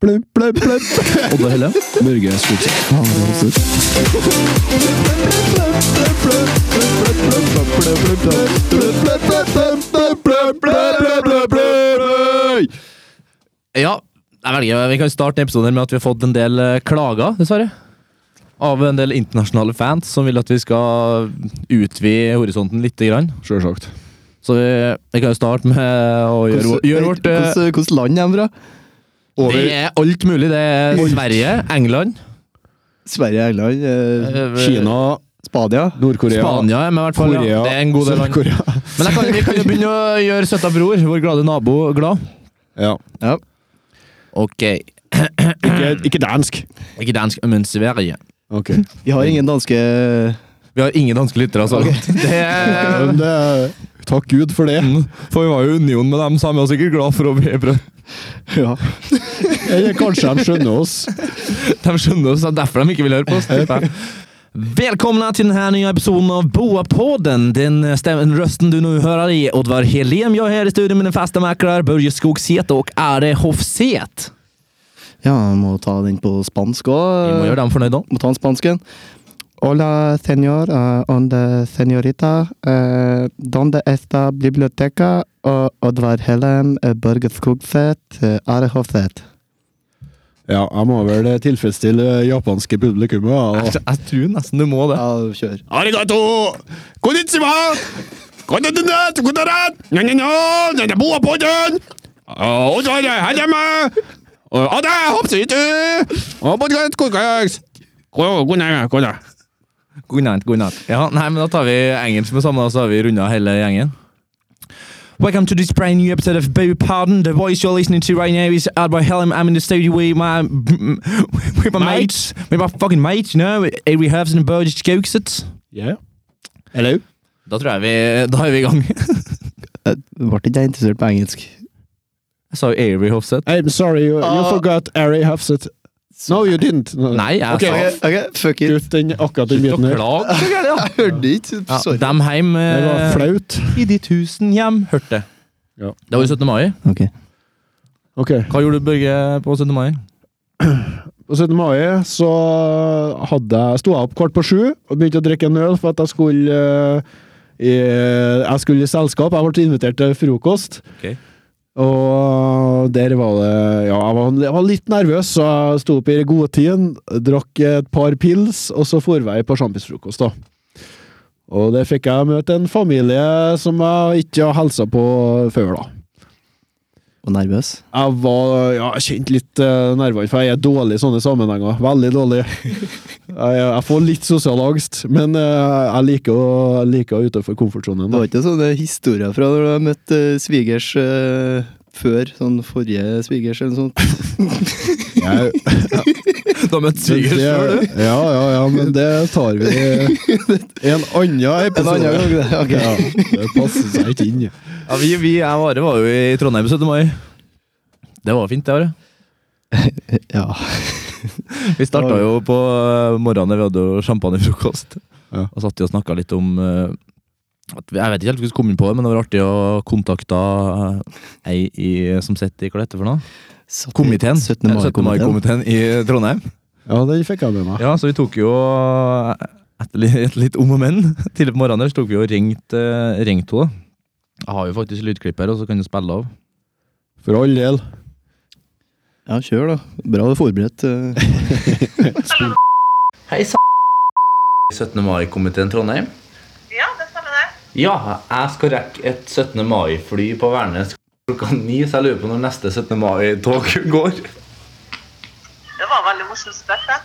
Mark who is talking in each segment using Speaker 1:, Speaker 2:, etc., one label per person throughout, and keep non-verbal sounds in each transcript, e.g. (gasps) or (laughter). Speaker 1: blubb, blubb, blubb. Odda Helle. Børge Skogstad. Ah, det var søtt.
Speaker 2: Ja, jeg velger, vi kan starte episoden med at vi har fått en del eh, klager, dessverre. Av en del internasjonale fans som vil at vi skal utvide horisonten litt. Grann.
Speaker 1: Sjølsagt.
Speaker 2: Så vi, vi kan jo starte med å gjøre, vår- gjøre vårt eh,
Speaker 3: Hvordan- hvordan land er de fra?
Speaker 2: Det er alt mulig. Det er Sverige, England,
Speaker 3: Sverige, England, eh,
Speaker 2: eh,
Speaker 1: Kina,
Speaker 3: Spania.
Speaker 1: Nord-Korea
Speaker 2: Spania er med, i hvert fall.
Speaker 1: Korea,
Speaker 2: Ja. Det er en god del land.
Speaker 1: Sør-Korea.
Speaker 2: Men jeg kan, vi kan jo begynne å gjøre søta bror, vår glade nabo, glad.
Speaker 1: Ja.
Speaker 3: Ja.
Speaker 2: Ok,
Speaker 1: Ikke, ikke dansk.
Speaker 2: ikke dansk, men Sverige.
Speaker 1: Mm. Ok.
Speaker 3: Vi
Speaker 2: eh,
Speaker 3: har ingen danske
Speaker 2: Vi har ingen danske lyttere, altså. Det
Speaker 1: (laughs)
Speaker 2: er,
Speaker 1: Men det, takk Gud for det.
Speaker 2: for vi var jo i union med dem, så han var sikkert glad for å bli brød.
Speaker 3: Ja.
Speaker 1: Eller kanskje de skjønner oss.
Speaker 2: De skjønner oss, det er derfor de ikke vil høre på oss. tipper jeg. Välkomna till den här nya episoden av Boa-podden. Den eh, stäm- rösten du nu hör i Oddvar Helén. Jag är här i studion med den fasta mäklare Börje Skogseth och Are Hofseth.
Speaker 3: ja, jeg må ta den på spansk
Speaker 2: Vi må
Speaker 3: òg.
Speaker 2: gjøre dem fornøyde.
Speaker 3: Må ta den spansken. Hola, señor eh, and señorita. eh, donde está biblioteca? Og Oddvar Hellem, eh, Børge Skogseth, eh, Are Hofseth.
Speaker 1: Ja, jeg må vel tilfredsstille japanske publikummet.
Speaker 2: Jeg,
Speaker 1: da.
Speaker 2: jeg tror nesten du må det.
Speaker 3: Ja, kjør.
Speaker 1: Arigato! Konnichiwa! Konnichiwa! Konnichiwa! Nanana! Denne boa på den!
Speaker 4: 어,
Speaker 1: Og så er det her hjemme! Og det er hoppsyte!
Speaker 4: 어,
Speaker 1: Og på den kokaks! God dag, god dag.
Speaker 2: God natt, god natt. Ja, nei, men da tar vi engelsk med sammen, og så har vi runda hele gjengen. Welcome to this brand new episode of Boo Pardon. The voice you're listening to right now is Adwar Helm. I'm in the studio with my (laughs) with my mates, with my fucking mates, you know, Avery Herbs and Burgess Skogset.
Speaker 1: Ja. Hello.
Speaker 2: Da tror jeg vi Da er vi i (laughs) gang. Jeg
Speaker 3: Jeg ble ikke jeg interessert på engelsk.
Speaker 2: sa jo Avery Hofseth.
Speaker 1: I'm sorry, you, you
Speaker 3: Ah.
Speaker 1: forgot Ari Hafset. No, you didn't. No.
Speaker 2: Nei, jeg
Speaker 1: Ok,
Speaker 2: sa
Speaker 3: fuck
Speaker 1: Kutt den akkurat den
Speaker 2: Slutt å
Speaker 1: biten her.
Speaker 2: klage. så gærent,
Speaker 3: (laughs)
Speaker 2: ja.
Speaker 3: Jeg hørte ikke.
Speaker 1: (laughs)
Speaker 2: Ja, dem heim
Speaker 1: Det var
Speaker 2: eh,
Speaker 1: flaut.
Speaker 2: i de tusen hjem hørte det.
Speaker 1: Ja.
Speaker 2: Det var jo 17. mai.
Speaker 3: Ok.
Speaker 1: Ok.
Speaker 2: Hva gjorde du, Børge, på 17. mai?
Speaker 1: På 17. mai så hadde jeg, sto jeg opp kvart på sju og begynte å drikke en øl for at jeg skulle eh, i, Jeg skulle i selskap. Jeg ble invitert til frokost.
Speaker 2: Ok.
Speaker 1: Og der var det Ja, jeg var, jeg var litt nervøs, så jeg sto opp i god tid, drakk et par pils, og så for jeg på sjampisfrokost, da. Og der fikk jeg møte en familie som jeg ikke har hilsa på før, da.
Speaker 3: Og nervøs.
Speaker 1: Jeg var ja, jeg kjente litt uh, nervene, for jeg er dårlig i sånne sammenhenger. Veldig dårlig. (laughs) jeg, eh, jeg får litt sosial angst, men eh, jeg liker å, jeg liker å utenfor komfortsonen.
Speaker 3: Det
Speaker 1: da.
Speaker 3: var ikke sånne historier fra når du har møtt eh, svigers eh, før? Sånn forrige svigers eller noe sånt?
Speaker 1: (laughs) Jeg-
Speaker 2: Da møtte
Speaker 1: men det- (laughs) Ja, ja, ja, men det tar vi i (laughs) en annen
Speaker 3: En
Speaker 1: episode.
Speaker 3: annen gang,
Speaker 1: (laughs)
Speaker 3: det. Ok.
Speaker 1: Ja, det passer seg ikke inn.
Speaker 2: Ja, vi, vi jeg og Are var jo i Trondheim 17. mai. Det var fint, det, Are.
Speaker 3: Ja.
Speaker 2: Vi starta jo på eh, morgenen, vi hadde jo champagnefrokost.
Speaker 1: Ja.
Speaker 2: Og satt jo og snakka litt om eh, at vi, Jeg vet ikke helt hvordan vi kom inn på det, men det var artig å kontakte eh, ei i, som sitter i Hva det heter for noe? Komiteen.
Speaker 3: 17.
Speaker 2: Eh, 17.
Speaker 3: mai-komiteen.
Speaker 2: mai-komiteen i Trondheim.
Speaker 1: Ja, den fikk jeg med meg.
Speaker 2: Ja, så vi tok jo eh, etter litt, etter litt om og men tidlig på morgenen, her, så tok vi og ringte eh, ringte henne. Jeg har jo faktisk lydklipp her, og så kan du spille av.
Speaker 1: For all del.
Speaker 3: Ja, kjør, da. Bra du er forberedt. eh.
Speaker 2: 17. mai-komiteen Trondheim.
Speaker 5: Ja, det stemmer det.
Speaker 2: Ja, jeg skal rekke et 17. mai-fly på Værnes klokka ni, så jeg lurer på når neste 17. mai-tog (laughs) går.
Speaker 5: Det var en veldig morsom spøk, det.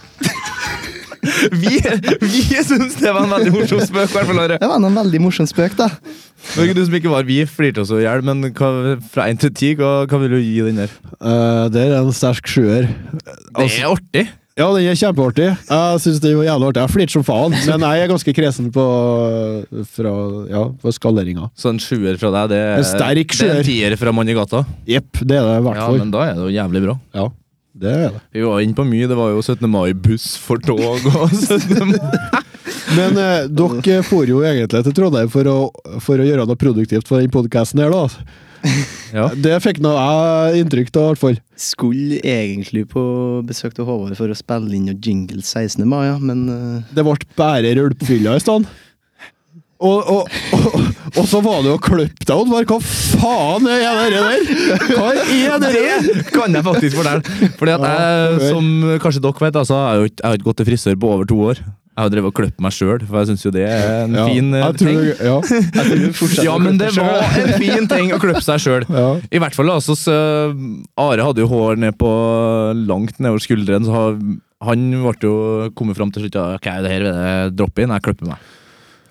Speaker 2: Vi, vi syns det var en veldig morsom spøk. hvert fall, Are.
Speaker 3: Det var en veldig morsom spøk, da.
Speaker 2: Det var ikke du som ikke var Vi flirte oss i hjel, men hva, fra én til ti, hva, hva vil du gi den der? Altså-
Speaker 1: Eh, det er en sterk sjuer.
Speaker 2: Det er artig.
Speaker 1: Ja, den er kjempeartig. Jeg syns det var jævlig artig. Jeg flirte som faen, men jeg er ganske kresen på, fra, ja, på skaleringa.
Speaker 2: Så en Sånn sjuer fra deg, det
Speaker 1: En sterk
Speaker 2: det er
Speaker 1: sjuer.
Speaker 2: en tier fra mannen i gata.
Speaker 1: Jepp, det er det i hvert
Speaker 2: Ja,
Speaker 1: fall.
Speaker 2: men da er det jo jævlig bra.
Speaker 1: Ja, det er det.
Speaker 2: Vi var inne på mye. Det var jo 17. mai-buss for tog og 17. mai
Speaker 1: Men eh, dere for jo egentlig til Trondheim for å, for å gjøre noe produktivt for den podkasten her, da. altså.
Speaker 2: Ja.
Speaker 1: Det fikk nå jeg inntrykk av, i hvert fall.
Speaker 3: Skulle egentlig på besøk til Håvard for å spille inn noe jingle 16. mai, ja, men eh,
Speaker 1: Det ble bare rølpfylla i stedet. Og, og, og, og så var det jo klipp deg, Oddvar. Hva faen er det der? Hva er det der?
Speaker 2: kan jeg faktisk fortelle. Fordi at jeg,
Speaker 1: Ja, hør.
Speaker 2: som kanskje dere vet, altså, jeg har jo ikke- jeg har ikke gått til frisør på over to år. Jeg har drevet og klippet meg sjøl, for jeg syns jo det er en
Speaker 1: Ja,
Speaker 2: fin eh,
Speaker 1: jeg tror
Speaker 2: ting.
Speaker 1: det- ja.
Speaker 2: Ja, men det var en fin ting å klippe seg
Speaker 1: (laughs)
Speaker 2: sjøl.
Speaker 1: Ja.
Speaker 2: I hvert fall, altså, så Are hadde jo hår ned på langt nedover skulderen, så han- han ble jo kommet fram til slutt ja, Ok, det her vil jeg droppe inn, jeg klipper meg.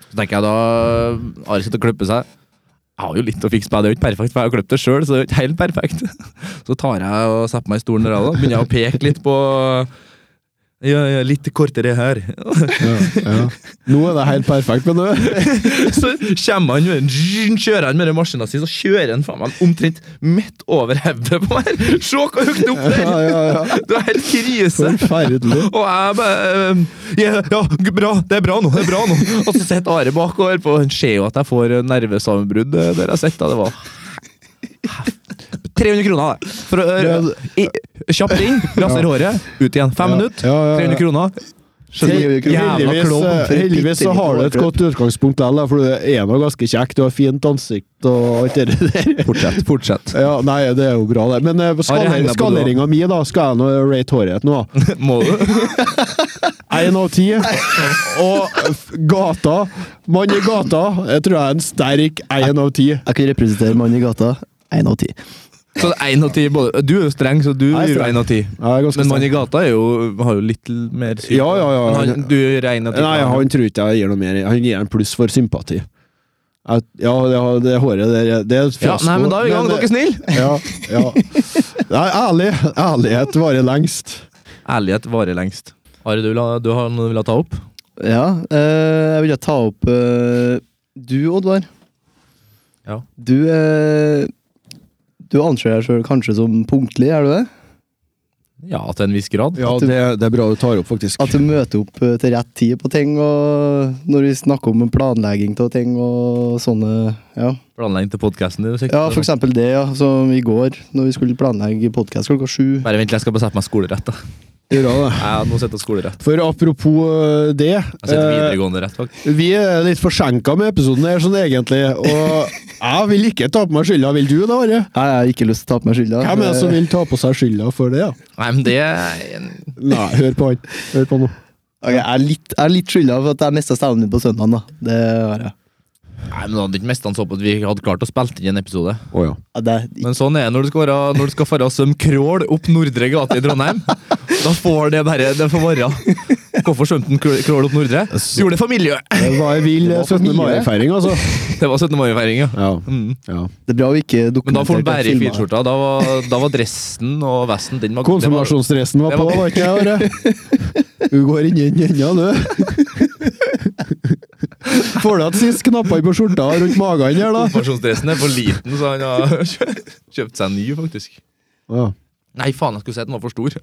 Speaker 2: Så tenker jeg da Are sitter og klipper seg. Jeg har jo litt å fikse på, det er jo ikke perfekt, for jeg har klippet det sjøl, så det er jo ikke helt perfekt. (laughs) Så tar jeg og setter meg i stolen der, da. Begynner jeg å peke litt på ja, ja, litt kortere her. (laughs)
Speaker 1: Ja, ja. Nå er det helt perfekt, men
Speaker 2: (laughs)
Speaker 1: nå
Speaker 2: Så kommer han med den, kjører han med den maskina si, så kjører han faen meg omtrent midt over hodet på meg! Se hvor høyt opp det
Speaker 1: ja,
Speaker 2: er!
Speaker 1: ja, ja.
Speaker 2: Det er helt krise!
Speaker 1: Forferdelig.
Speaker 2: Og jeg bare ehm, ja, ja, g- bra, det er bra nå, det er bra nå! Og så sitter Are bak og hører på, han ser jo at jeg får nervesammenbrudd eh, der jeg sitter. Det var 300 kroner, det! For å
Speaker 1: Men-
Speaker 2: eh, i- Kjapt inn, raser håret, ut igjen. Fem
Speaker 1: Ja,
Speaker 2: minutter,
Speaker 1: ja, ja, ja.
Speaker 2: 300 kroner. Skjønner du? Jævla
Speaker 1: Heldigvis,
Speaker 2: klovn!
Speaker 1: eh, heldigvis så har du et godt utgangspunkt likevel, for du er nå ganske kjekk. Du har fint ansikt og alt det
Speaker 2: (laughs)
Speaker 1: der.
Speaker 2: Fortsett, fortsett.
Speaker 1: Ja, nei, det er jo bra, det. Men eh,
Speaker 2: henger
Speaker 1: skaler,
Speaker 2: på
Speaker 1: skaleringa mi, da, skal jeg nå rate håret
Speaker 2: (laughs)
Speaker 1: nå?
Speaker 2: Må du?
Speaker 1: Én av ti. Og f- gata Mann i gata jeg tror jeg er en sterk én av ti.
Speaker 3: jeg kan representere mannen i gata. Én av ti.
Speaker 2: Så det er en av ti både. Du er jo streng, så du
Speaker 1: Jeg er
Speaker 2: er jo
Speaker 1: streng.
Speaker 2: en av ti.
Speaker 1: Jeg er ganske
Speaker 2: Men mannen i
Speaker 1: sterk.
Speaker 2: gata er jo, har jo litt l- mer syn.
Speaker 1: Ja, ja, ja.
Speaker 2: Men Han, du er en av ti.
Speaker 1: Nei, han tror ikke jeg gir noe mer. Han gir en pluss for sympati. Jeg- Ja, det, det håret der Det er
Speaker 2: ja, nei, men da er vi i gang. Dere er snille!
Speaker 1: Ja, ja. Nei, ærlig, ærlighet varer lengst.
Speaker 2: Ærlighet varer lengst. Are, du, vil ha- du har noe du vil ha ta opp?
Speaker 3: Ja, eh, jeg ville ta opp eh, du, Oddvar.
Speaker 2: Ja.
Speaker 3: Du, eh, du anser deg sjøl kanskje som punktlig, er du det?
Speaker 2: Ja, til en viss grad.
Speaker 1: Ja, det, det er bra du tar opp, faktisk.
Speaker 3: At du møter opp eh, til rett tid på ting, og når vi snakker om planlegging av ting og sånne ja.
Speaker 2: Planlegging til podkasten din. sikkert.
Speaker 3: ja, for eksempel det, ja. Som i går, når vi skulle planlegge podkast klokka sju.
Speaker 2: Bare vent, jeg skal bare sette meg skolerett. da.
Speaker 1: Gjør det.
Speaker 2: Jeg må sette skolerett.
Speaker 1: For apropos øh, det
Speaker 2: Jeg setter
Speaker 1: eh,
Speaker 2: videregående rett, faktisk.
Speaker 1: Vi er litt forsenka med episoden her, sånn egentlig. Og jeg vil ikke ta på meg skylda. Vil du det, Are?
Speaker 3: Nei, Jeg har ikke lyst til å ta på meg skylda.
Speaker 1: Hvem er det
Speaker 2: altså,
Speaker 1: som vil ta på seg skylda for det? Ja?
Speaker 2: Nei, men det er-
Speaker 1: Nei, hør på han. Hør på nå.
Speaker 3: Ok, jeg, er litt, jeg er litt skylda for at jeg mista stemmen min på søndag. da. Det har jeg.
Speaker 2: Nei, men da hadde ikke mest han så på at vi hadde klart å spille inn en episode.
Speaker 1: Å ja.
Speaker 3: Ja, det er
Speaker 2: Men sånn er det når du skal, være, når du skal fare og svømme crawl opp Nordre gate i Trondheim. Da får det bare det får være. Hvorfor svømte han crawl- crawl opp Nordre? Gjorde det for miljøet!
Speaker 1: Det var ei vill
Speaker 3: Det var for
Speaker 1: 17.
Speaker 3: mye.
Speaker 1: mai-feiring, altså.
Speaker 2: Det var 17. mai-feiring, ja.
Speaker 1: Ja.
Speaker 2: Mm.
Speaker 1: ja.
Speaker 3: Det er bra vi ikke
Speaker 2: Men da får han
Speaker 3: dokumenterer
Speaker 2: bære i filskjorta. Da, var- da var dressen og vesten den var, det var,
Speaker 1: Konfirmasjonsdressen var
Speaker 2: det
Speaker 1: på,
Speaker 2: var-
Speaker 1: var ikke det,
Speaker 2: (laughs)
Speaker 1: Are? Du går inn i den enda, du. Får du at sist knappene på skjorta rundt magen her, da?
Speaker 2: Konfirmasjonsdressen er for liten, så han har (laughs) kjø- kjøpt seg en ny, faktisk.
Speaker 1: Ja.
Speaker 2: Nei, faen, jeg skulle si at den var for stor.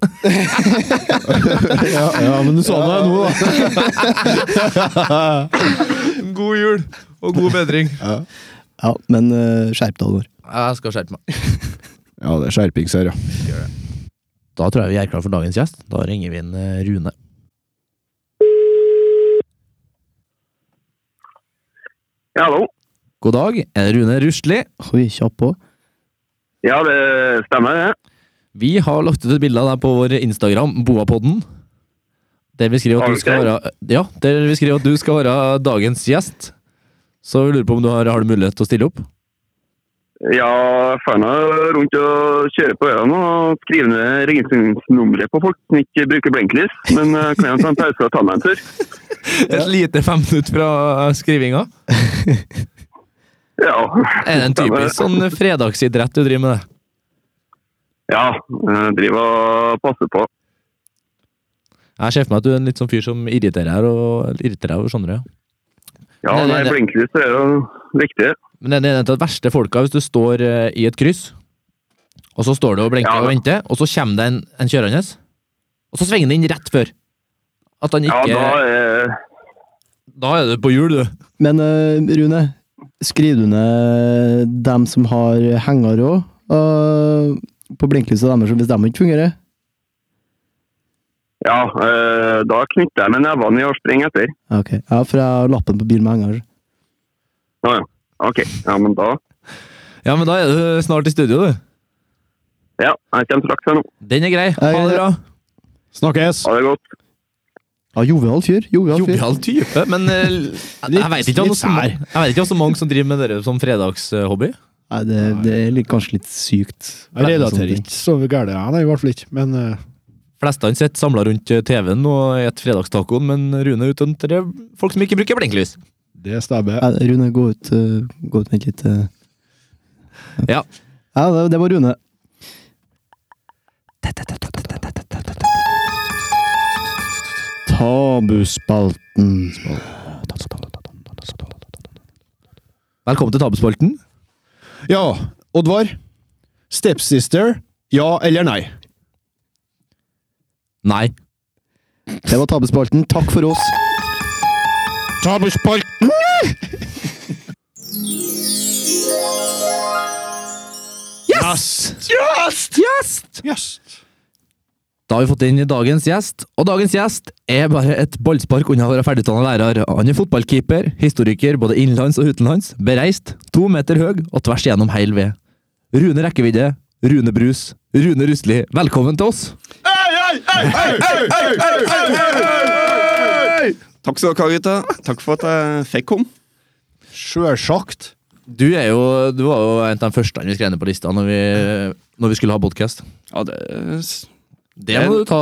Speaker 1: Ja, ja, men du sa det nå, da.
Speaker 2: (laughs) God jul og god bedring.
Speaker 3: Ja, men eh, skjerp deg, Alvor.
Speaker 2: Jeg skal skjerpe meg.
Speaker 1: Ja, det er skjerpings her, ja.
Speaker 2: Da tror jeg vi er klare for dagens gjest. Da ringer vi inn eh, Rune.
Speaker 6: Ja, hallo.
Speaker 2: God dag, er det Rune Rustli.
Speaker 3: Oi, kjapp på.
Speaker 6: Ja, det stemmer, det.
Speaker 2: Vi har lagt ut et bilde av deg på vår Instagram, Boapodden. Der vi skriver at du skal være, ja, der vi skriver at du skal være dagens gjest. Så vi lurer på om du har, har du mulighet til å stille opp?
Speaker 6: Ja, jeg får nå rundt og kjøre på øynene og skrive ned registreringsnummeret på folk som ikke bruker blinklys. Men eh, kan jeg ta en pause og ta meg en tur?
Speaker 2: Et lite fem minutter fra skrivinga.
Speaker 6: Ja.
Speaker 2: Er det en
Speaker 6: stemmer.
Speaker 2: typisk sånn fredagsidrett du driver med? det?
Speaker 6: Ja, eh, driver og passer på.
Speaker 2: Jeg ser for meg at du er en litt sånn fyr som irriterer her, og irriterer over sånne. Ja.
Speaker 6: Ja,
Speaker 2: Nei, nei,
Speaker 6: nei,
Speaker 2: det-
Speaker 6: blinklys er jo viktig.
Speaker 2: Men det er en av de verste folka hvis du står eh, i et kryss, og så står du og blinker
Speaker 6: Ja.
Speaker 2: og venter, og så kommer det en, en kjørende, og så svinger den inn rett før. At han
Speaker 6: Ja, eh,
Speaker 2: ikke
Speaker 6: da er
Speaker 2: Da er det på jul, du.
Speaker 3: Men eh, Rune, skriver du ned dem som har henger òg? på blinklyset deres, hvis de ikke fungerer?
Speaker 6: Ja, eh, da knytter jeg med nevene i og springer etter.
Speaker 3: Ok, ja, For jeg har lappen på bilen med henger.
Speaker 6: Å ja. Ok, ja, men da
Speaker 2: Ja, men da er du snart i studio, du.
Speaker 6: Ja, jeg kommer straks her nå.
Speaker 2: Den er grei. Ha det bra.
Speaker 1: Snakkes!
Speaker 6: Ha det godt.
Speaker 3: Ja, Jovial fyr. Jovial fyr.
Speaker 2: Jovial type, men eh, jeg vet ikke om det er så ma- jeg vet ikke om så mange som driver med dere som fredagshobby.
Speaker 3: Nei, det, det er litt, kanskje litt sykt.
Speaker 1: Jeg relaterer
Speaker 3: Sånne ting.
Speaker 1: ikke så gærent, jeg, nei, i hvert fall ikke. Men eh,
Speaker 2: Flestene sitter samla rundt eh, TV-en og spiser fredagstacoen, men Rune er ute etter det folk som ikke bruker blinklys. (laughs)
Speaker 1: det stemmer.
Speaker 3: Ja, Rune, gå ut, eh, gå ut med et lite
Speaker 2: Ja.
Speaker 3: Ja, det, det var Rune. Tabuspalten.
Speaker 2: Velkommen til Tabuspalten.
Speaker 1: Ja, Oddvar. Stepsister. Ja eller nei?
Speaker 2: Nei.
Speaker 3: Det var tabuspalten. Takk for oss.
Speaker 1: Tabuspalten! Yes! Yes!
Speaker 2: Da har vi fått inn dagens gjest, og dagens gjest er bare et ballspark unna å være ferdigutdanna lærer. Han er fotballkeeper, historiker både innenlands og utenlands, bereist, to meter høy og tvers igjennom heil ved. Rune Rekkevidde, Rune Brus, Rune Rustli, velkommen til oss!
Speaker 7: Takk skal dere ha, gutta. Takk for at jeg fikk komme.
Speaker 1: Sjølsagt.
Speaker 2: Du, er jo, du var jo en av de første vi skrev ned på lista når vi, når vi skulle ha podcast.
Speaker 7: Ja, det
Speaker 2: Det må du ta,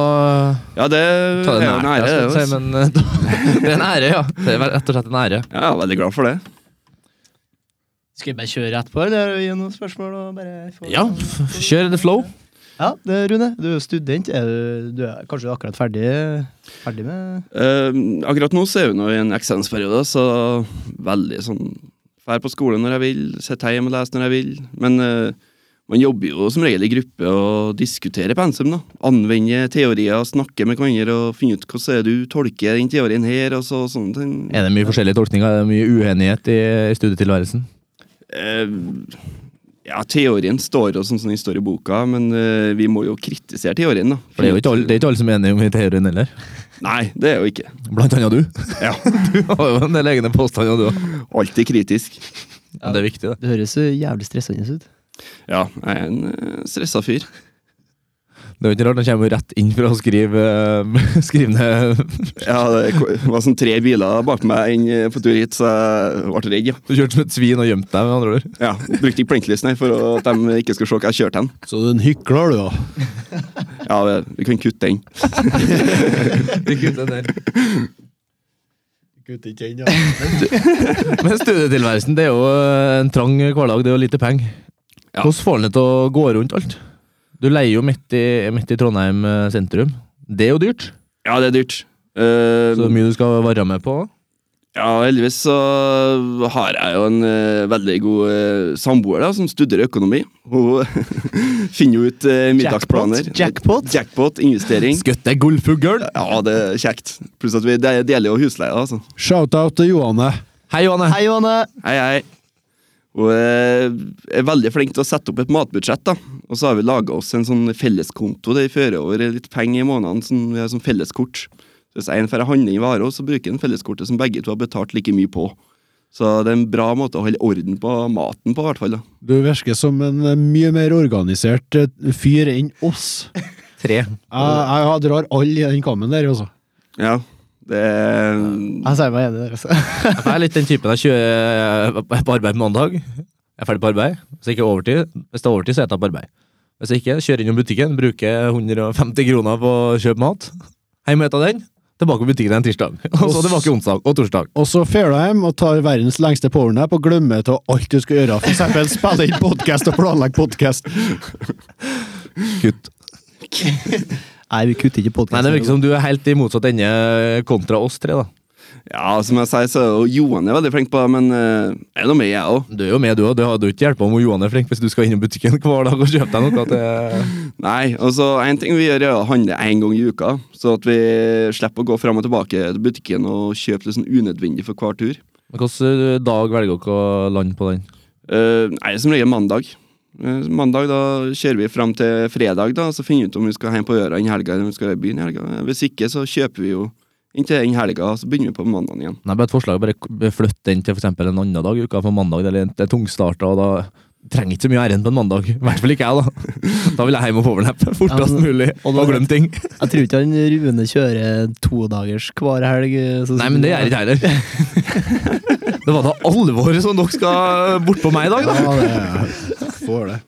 Speaker 7: Ja, det
Speaker 2: ta
Speaker 7: er
Speaker 2: det
Speaker 7: jo en ære.
Speaker 2: nære,
Speaker 7: det,
Speaker 2: skal jeg si,
Speaker 7: altså.
Speaker 2: men eh, (laughs) det er en ære, ja. Det er rett og slett en ære.
Speaker 7: Ja, Jeg er veldig glad for det.
Speaker 8: Skal vi bare kjøre rett på, eller gi noen spørsmål? og bare få...
Speaker 2: Ja, f- f- kjør the flow.
Speaker 8: Ja, det er Rune, du er jo student. Er du, du er kanskje akkurat ferdig, ferdig med
Speaker 7: Eh, akkurat nå så er vi nå i en eksamensperiode, så veldig sånn Fær på skolen når jeg vil, sitter hjemme og leser når jeg vil. Men eh, man jobber jo som regel i gruppe og diskuterer pensum. da. Anvender teorier, snakker med hverandre og finner ut hvordan er det du tolker den teorien her. og så, sånne ting.
Speaker 2: Er det mye forskjellige tolkninger? Er det mye uenighet i i studietilværelsen?
Speaker 7: Eh, ja, teorien står jo sånn som den står i boka, men eh, vi må jo kritisere teorien, da.
Speaker 2: For det er jo ikke alle, det er ikke alle som er enige om i teorien heller.
Speaker 7: Nei, det er jo ikke.
Speaker 2: Blant annet du.
Speaker 7: Ja.
Speaker 2: (laughs) Du har jo en del egne påstander, du òg.
Speaker 7: Alltid kritisk.
Speaker 2: Men det er viktig, det.
Speaker 8: Det høres jo jævlig stressende ut.
Speaker 7: Ja, jeg er en eh, stressa fyr.
Speaker 2: Det er jo ikke rart, han kommer jo rett inn for å skrive, eh, (laughs) skrive ned
Speaker 7: Ja, det ko- var sånn tre biler bak meg inn eh, på tur hit, så jeg ble redd, ja.
Speaker 2: Du kjørte som et svin og gjemte deg, med andre ord.
Speaker 7: ja brukte ikke blinklys, nei, for å- at de ikke skulle se hva jeg kjørte hen.
Speaker 1: Så du er en hykler, du, da.
Speaker 7: Ja, det- vi kan kutte den.
Speaker 2: Vi kutter den der.
Speaker 1: Kutter ikke inn, ja.
Speaker 2: Men studietilværelsen, det er jo eh, en trang hverdag, det er jo lite penger.
Speaker 7: Ja.
Speaker 2: Hvordan får han det til å gå rundt alt? Du leier jo midt i, midt i Trondheim eh, sentrum. Det er jo dyrt.
Speaker 7: Ja, det er dyrt. Eh,
Speaker 2: Så det er mye du skal være med på.
Speaker 7: Ja, heldigvis så har jeg jo en eh, veldig god eh, samboer da, som studerer økonomi. Hun (laughs) finner jo ut eh, middagsplaner.
Speaker 8: Jackpot?
Speaker 7: Jackpot,
Speaker 8: (laughs)
Speaker 7: investering.
Speaker 2: Skutt deg gullfugl!
Speaker 7: Ja, det er kjekt. Pluss at vi de- deler jo husleie, altså.
Speaker 1: Shout-out til Johanne.
Speaker 2: Hei, Johanne.
Speaker 8: Hei, Johanne!
Speaker 7: Hei, hei. Hun eh, er veldig flink til å sette opp et matbudsjett, da. Og så har vi laga oss en sånn felleskonto der vi fører over litt penger i måneden som vi har som felleskort. Så Hvis en får handle inn varer, så bruker en felleskortet som begge to har betalt like mye på. Så det er en bra måte å holde orden på maten på, i hvert fall. da.
Speaker 1: Du virker som en eh, mye mer organisert eh, fyr enn oss. Jeg,
Speaker 2: Tre.
Speaker 1: jeg drar alle i den kammen der, altså.
Speaker 7: Ja, det er
Speaker 8: Jeg sier meg enig der, altså.
Speaker 2: Jeg er litt den typen jeg kjører jeg er på arbeid på mandag. Jeg er ferdig på arbeid. Hvis det ikke er overtid, hvis det er overtid så er jeg tatt på arbeid. Hvis jeg ikke, kjører innom butikken, bruker 150 kroner på å kjøpe mat. Hjem og etter den. Tilbake på butikken en tirsdag. (laughs) Og så tilbake onsdag og torsdag.
Speaker 1: Og så drar du hjem og tar verdens lengste powernap og glemmer til alt du skal gjøre. For eksempel spille inn podkast og planlegge podkast.
Speaker 2: Kutt.
Speaker 8: (laughs) Nei, vi kutter ikke
Speaker 2: Nei,
Speaker 8: podkasten.
Speaker 2: det virker som du er helt i motsatt ende kontra oss tre, da.
Speaker 7: Ja, som jeg sier, så er jo Johan er veldig flink på det, men eh, er det med jeg òg?
Speaker 2: Du er jo med, du òg. Det hadde jo ikke hjulpet om Johan er flink hvis du skal innom butikken hver dag og kjøpe deg noe til
Speaker 7: Nei, altså en ting vi gjør er å handle en gang i uka, så at vi slipper å gå frem og tilbake til butikken og kjøpe litt sånn unødvendig for hver tur.
Speaker 2: Hvilken eh, dag velger dere å lande på den?
Speaker 7: Eh, nei, som regel mandag. Eh, mandag da kjører vi frem til fredag, da, så finner vi ut om vi skal hjem på øra i helga eller om vi skal i byen i helga. Hvis ikke, så kjøper vi jo inntil den helga, så begynner vi på mandag igjen.
Speaker 2: Nei, bare et forslag. Bare k- flytt den til for eksempel en annen dag i uka, for mandag eller det er tungstarta, og da trenger ikke så mye ærend på en mandag. I hvert fall ikke jeg, da. (laughs) Da vil jeg hjem og powernappe fortest
Speaker 8: Ja, men-
Speaker 2: mulig
Speaker 8: og
Speaker 2: og,
Speaker 8: da-
Speaker 2: glemme ting.
Speaker 8: Jeg tror ikke han Rune kjører todagers hver helg. sånn
Speaker 2: Nei, men
Speaker 8: som du
Speaker 2: det gjør
Speaker 8: gjør.
Speaker 2: ikke jeg heller. (laughs) Det var da alvoret som dere skal bort på meg i dag, da.
Speaker 1: Ja, det får det.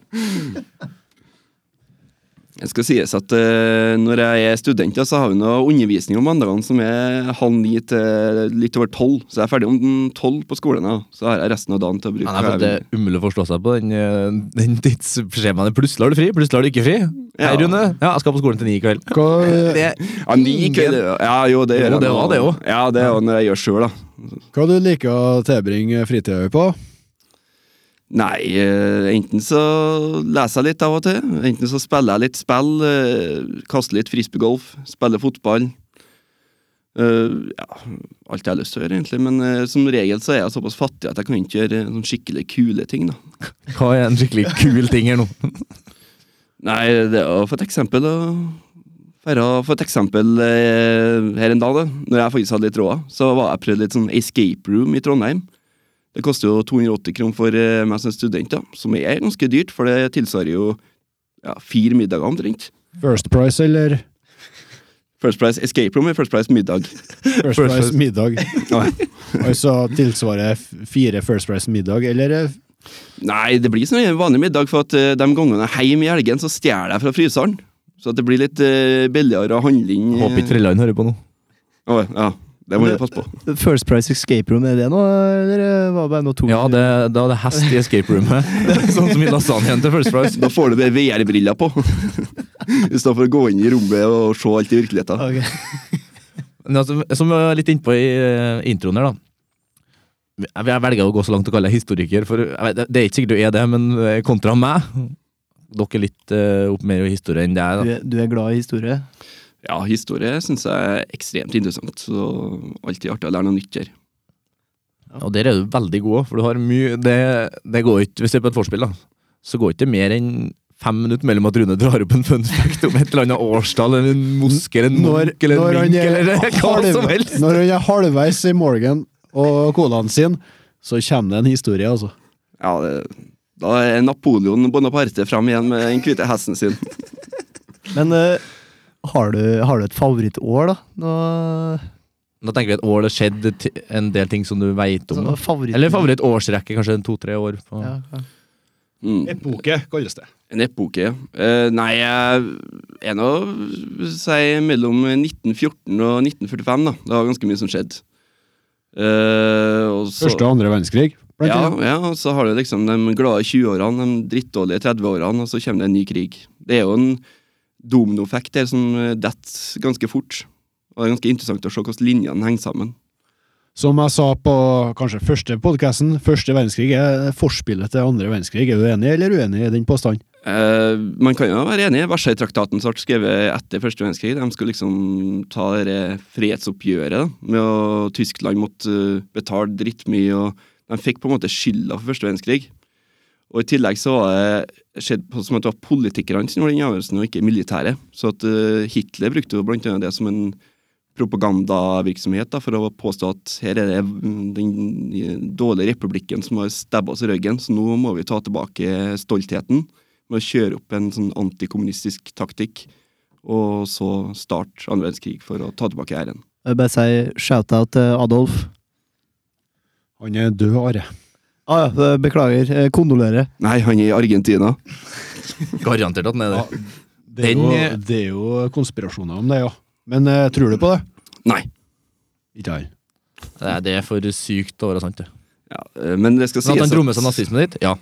Speaker 7: Det skal sies at eh, når jeg er student, da, så har vi noe undervisning om mandagene som er halv ni til litt over tolv. Så jeg er ferdig om den tolv på skolen, da. Så har jeg resten av dagen til å bruke.
Speaker 2: Nei, for
Speaker 7: hva jeg
Speaker 2: Det
Speaker 7: vil.
Speaker 2: er umulig å forstå seg på den, eh, den tidsskjemaen. Plutselig har du fri, plutselig har du ikke fri. Hei,
Speaker 7: Ja.
Speaker 2: Rune. Ja, jeg skal på skolen til ni i kveld.
Speaker 1: Hva,
Speaker 2: Det,
Speaker 7: Ja, ni kveld, ja, jo, det
Speaker 2: Jo,
Speaker 7: gjør jeg.
Speaker 2: det
Speaker 7: nå.
Speaker 2: var det jo.
Speaker 7: Ja, det er jo når jeg gjør sjøl, da.
Speaker 1: hva du liker å tilbringe fritida på?
Speaker 7: Nei, eh, enten så leser jeg litt av og til. Enten så spiller jeg litt spill. eh, Kaster litt frisbeegolf. Spiller fotball. Eh, ja, alt jeg har lyst til å gjøre, egentlig. Men eh, som regel så er jeg såpass fattig at jeg kan ikke gjøre eh, sånn skikkelig kule ting, da.
Speaker 2: hva er en skikkelig kul ting her nå?
Speaker 7: Nei, det er jo for et eksempel å være For et eksempel eh, her en dag, da Når jeg faktisk hadde litt råd, så var jeg prøvd litt sånn escape room i Trondheim. Det koster jo 280 kroner for eh, meg som student, da, som er ganske dyrt, for det tilsvarer jo ja, fire middager omtrent.
Speaker 1: First Price eller
Speaker 7: First Price escape room eller First Price middag?
Speaker 1: First,
Speaker 2: First
Speaker 1: Price
Speaker 2: Price.
Speaker 1: middag?
Speaker 7: Nei.
Speaker 1: Altså tilsvarer f- fire First Price middag, eller eh,
Speaker 7: Nei, det blir som en vanlig middag, for at eh, de gangene jeg er hjemme i helgen, så stjeler jeg fra fryseren. Så at det blir litt eh, billigere å handle inn eh,
Speaker 2: Håper ikke Trelland hører på nå.
Speaker 7: Å, ja, det må du passe på.
Speaker 8: First Price Escape Room, er det noe, eller var det bare noe to?
Speaker 2: Ja, det, da er det hest i escape roomet. Sånn som i lasagnen til First Price.
Speaker 7: Da får du bare VR-briller på. (laughs) I stedet for å gå inn i rommet og se alt i virkeligheten.
Speaker 8: Ok.
Speaker 2: Men altså, som jeg var litt innpå i eh, introen her, da. Jeg jeg velger å gå så langt å kalle deg historiker, for jeg vet, det er ikke sikkert du er det, men eh, kontra meg Dere er litt eh, opp mer i historie enn det jeg er. da.
Speaker 8: Du, er- du er glad i historie?
Speaker 7: Ja, historie syns jeg er ekstremt interessant. Så alltid artig å lære noe nytt her.
Speaker 2: Og der er du veldig god òg, for du har mye Det, det går ikke, Hvis det er på et vorspiel, da, så går ikke det mer enn fem minutter mellom at Rune drar opp en fun fact om et eller annet årstall eller en moske eller en
Speaker 1: Når-
Speaker 2: munk eller
Speaker 1: når
Speaker 2: en
Speaker 1: han
Speaker 2: mink
Speaker 1: er (laughs)
Speaker 2: eller (laughs) hva
Speaker 1: halv-
Speaker 2: som helst!
Speaker 1: Når han er halvveis i Morgan og colaen sin, så kommer det en historie, altså.
Speaker 7: Ja, det, da er Napoleon Bonaparte fram igjen med den hvite hesten sin.
Speaker 8: Men eh, har, du, har du et favorittår, da? Noe,
Speaker 2: Da tenker vi et år det skjedde ti- en del ting som du veit om.
Speaker 8: sånn
Speaker 2: Da.
Speaker 8: favoritt-
Speaker 2: Altså, Eller favorittårsrekke, kanskje en to-tre år. På.
Speaker 8: Ja, ja.
Speaker 7: Mm.
Speaker 1: Epoke kalles det.
Speaker 7: En epoke. Eh, nei, jeg er nå si mellom 1914 og 1945, da. Det var ganske mye som skjedde. Eh, og så-
Speaker 1: Første og andre verdenskrig. blant
Speaker 7: Ja,
Speaker 1: annet.
Speaker 7: ja, og så har du liksom de glade 20-årene, de drittdårlige 30-årene, og så kommer det en ny krig. Det er jo en dominoeffekt der som eh, detter ganske fort. Og det er ganske interessant å se hvordan linjene henger sammen.
Speaker 1: Som jeg sa på kanskje første podkasten, første verdenskrig er forspillet til andre verdenskrig. Er du enig eller uenig i den påstanden?
Speaker 7: Eh, man kan jo være enig. Versailles-traktaten som ble skrevet etter første verdenskrig. De skulle liksom ta det fredsoppgjøret da, med å Tyskland måtte eh, betale drittmye. og De fikk på en måte skylda for første verdenskrig. Og I tillegg så var det skjedd på som at det var politikerne som gjorde den avgjørelsen, og ikke militæret. Så at eh, Hitler brukte jo blant annet det som en propagandavirksomhet da, for å påstå at her er det den dårlige republikken som har stabba oss i ryggen, så nå må vi ta tilbake stoltheten med å kjøre opp en sånn antikommunistisk taktikk. Og så start andre verdenskrig for å ta tilbake æren.
Speaker 8: Jeg vil bare si shout-out til Adolf.
Speaker 1: Han er død, Are.
Speaker 8: Ah, ja, eh, beklager. Eh, Kondolerer.
Speaker 7: Nei, han er i Argentina.
Speaker 2: Garantert at den er det.
Speaker 1: Det er,
Speaker 2: Den,
Speaker 1: jo,
Speaker 2: eh,
Speaker 1: det er jo konspirasjoner om det, ja. Men eh, tror du på det?
Speaker 7: Nei.
Speaker 1: Ikke jeg.
Speaker 2: Det er- Det er for sykt å være sant. det.
Speaker 7: Ja, eh, men det skal
Speaker 2: Men
Speaker 7: sies
Speaker 2: at han trommer seg nazismen ditt? Ja.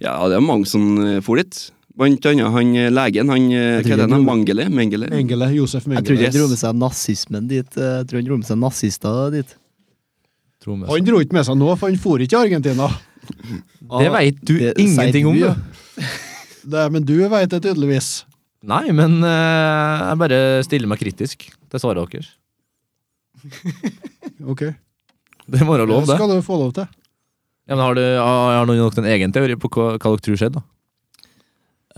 Speaker 7: Ja, det er mange som eh, for dit. Blant annet han eh, legen, han eh,
Speaker 1: Jeg tror
Speaker 7: Hva er det,
Speaker 1: ikke
Speaker 7: han?
Speaker 1: det-
Speaker 7: Mangele? Mengele?
Speaker 1: Mengele. Josef
Speaker 8: Jeg tror
Speaker 1: Mengele.
Speaker 8: ikke han
Speaker 7: Yes.
Speaker 8: dro med seg nazismen dit. eh, Jeg tror han dro med seg nazister dit.
Speaker 2: Trommer seg.
Speaker 1: Han dro ikke med seg noe, for han for ikke til Argentina.
Speaker 2: Det veit du
Speaker 8: Ah, det sier
Speaker 2: ingenting
Speaker 8: du,
Speaker 2: om,
Speaker 8: ja.
Speaker 2: du.
Speaker 1: Det, men du veit det tydeligvis.
Speaker 2: Nei, men eh, jeg bare stiller meg kritisk til svaret deres.
Speaker 1: Ok.
Speaker 2: Det må være lov, det.
Speaker 1: skal du få lov til.
Speaker 2: Ja, men har, du, har har noen nok en egen teori på hva, hva dere tror skjedde? da?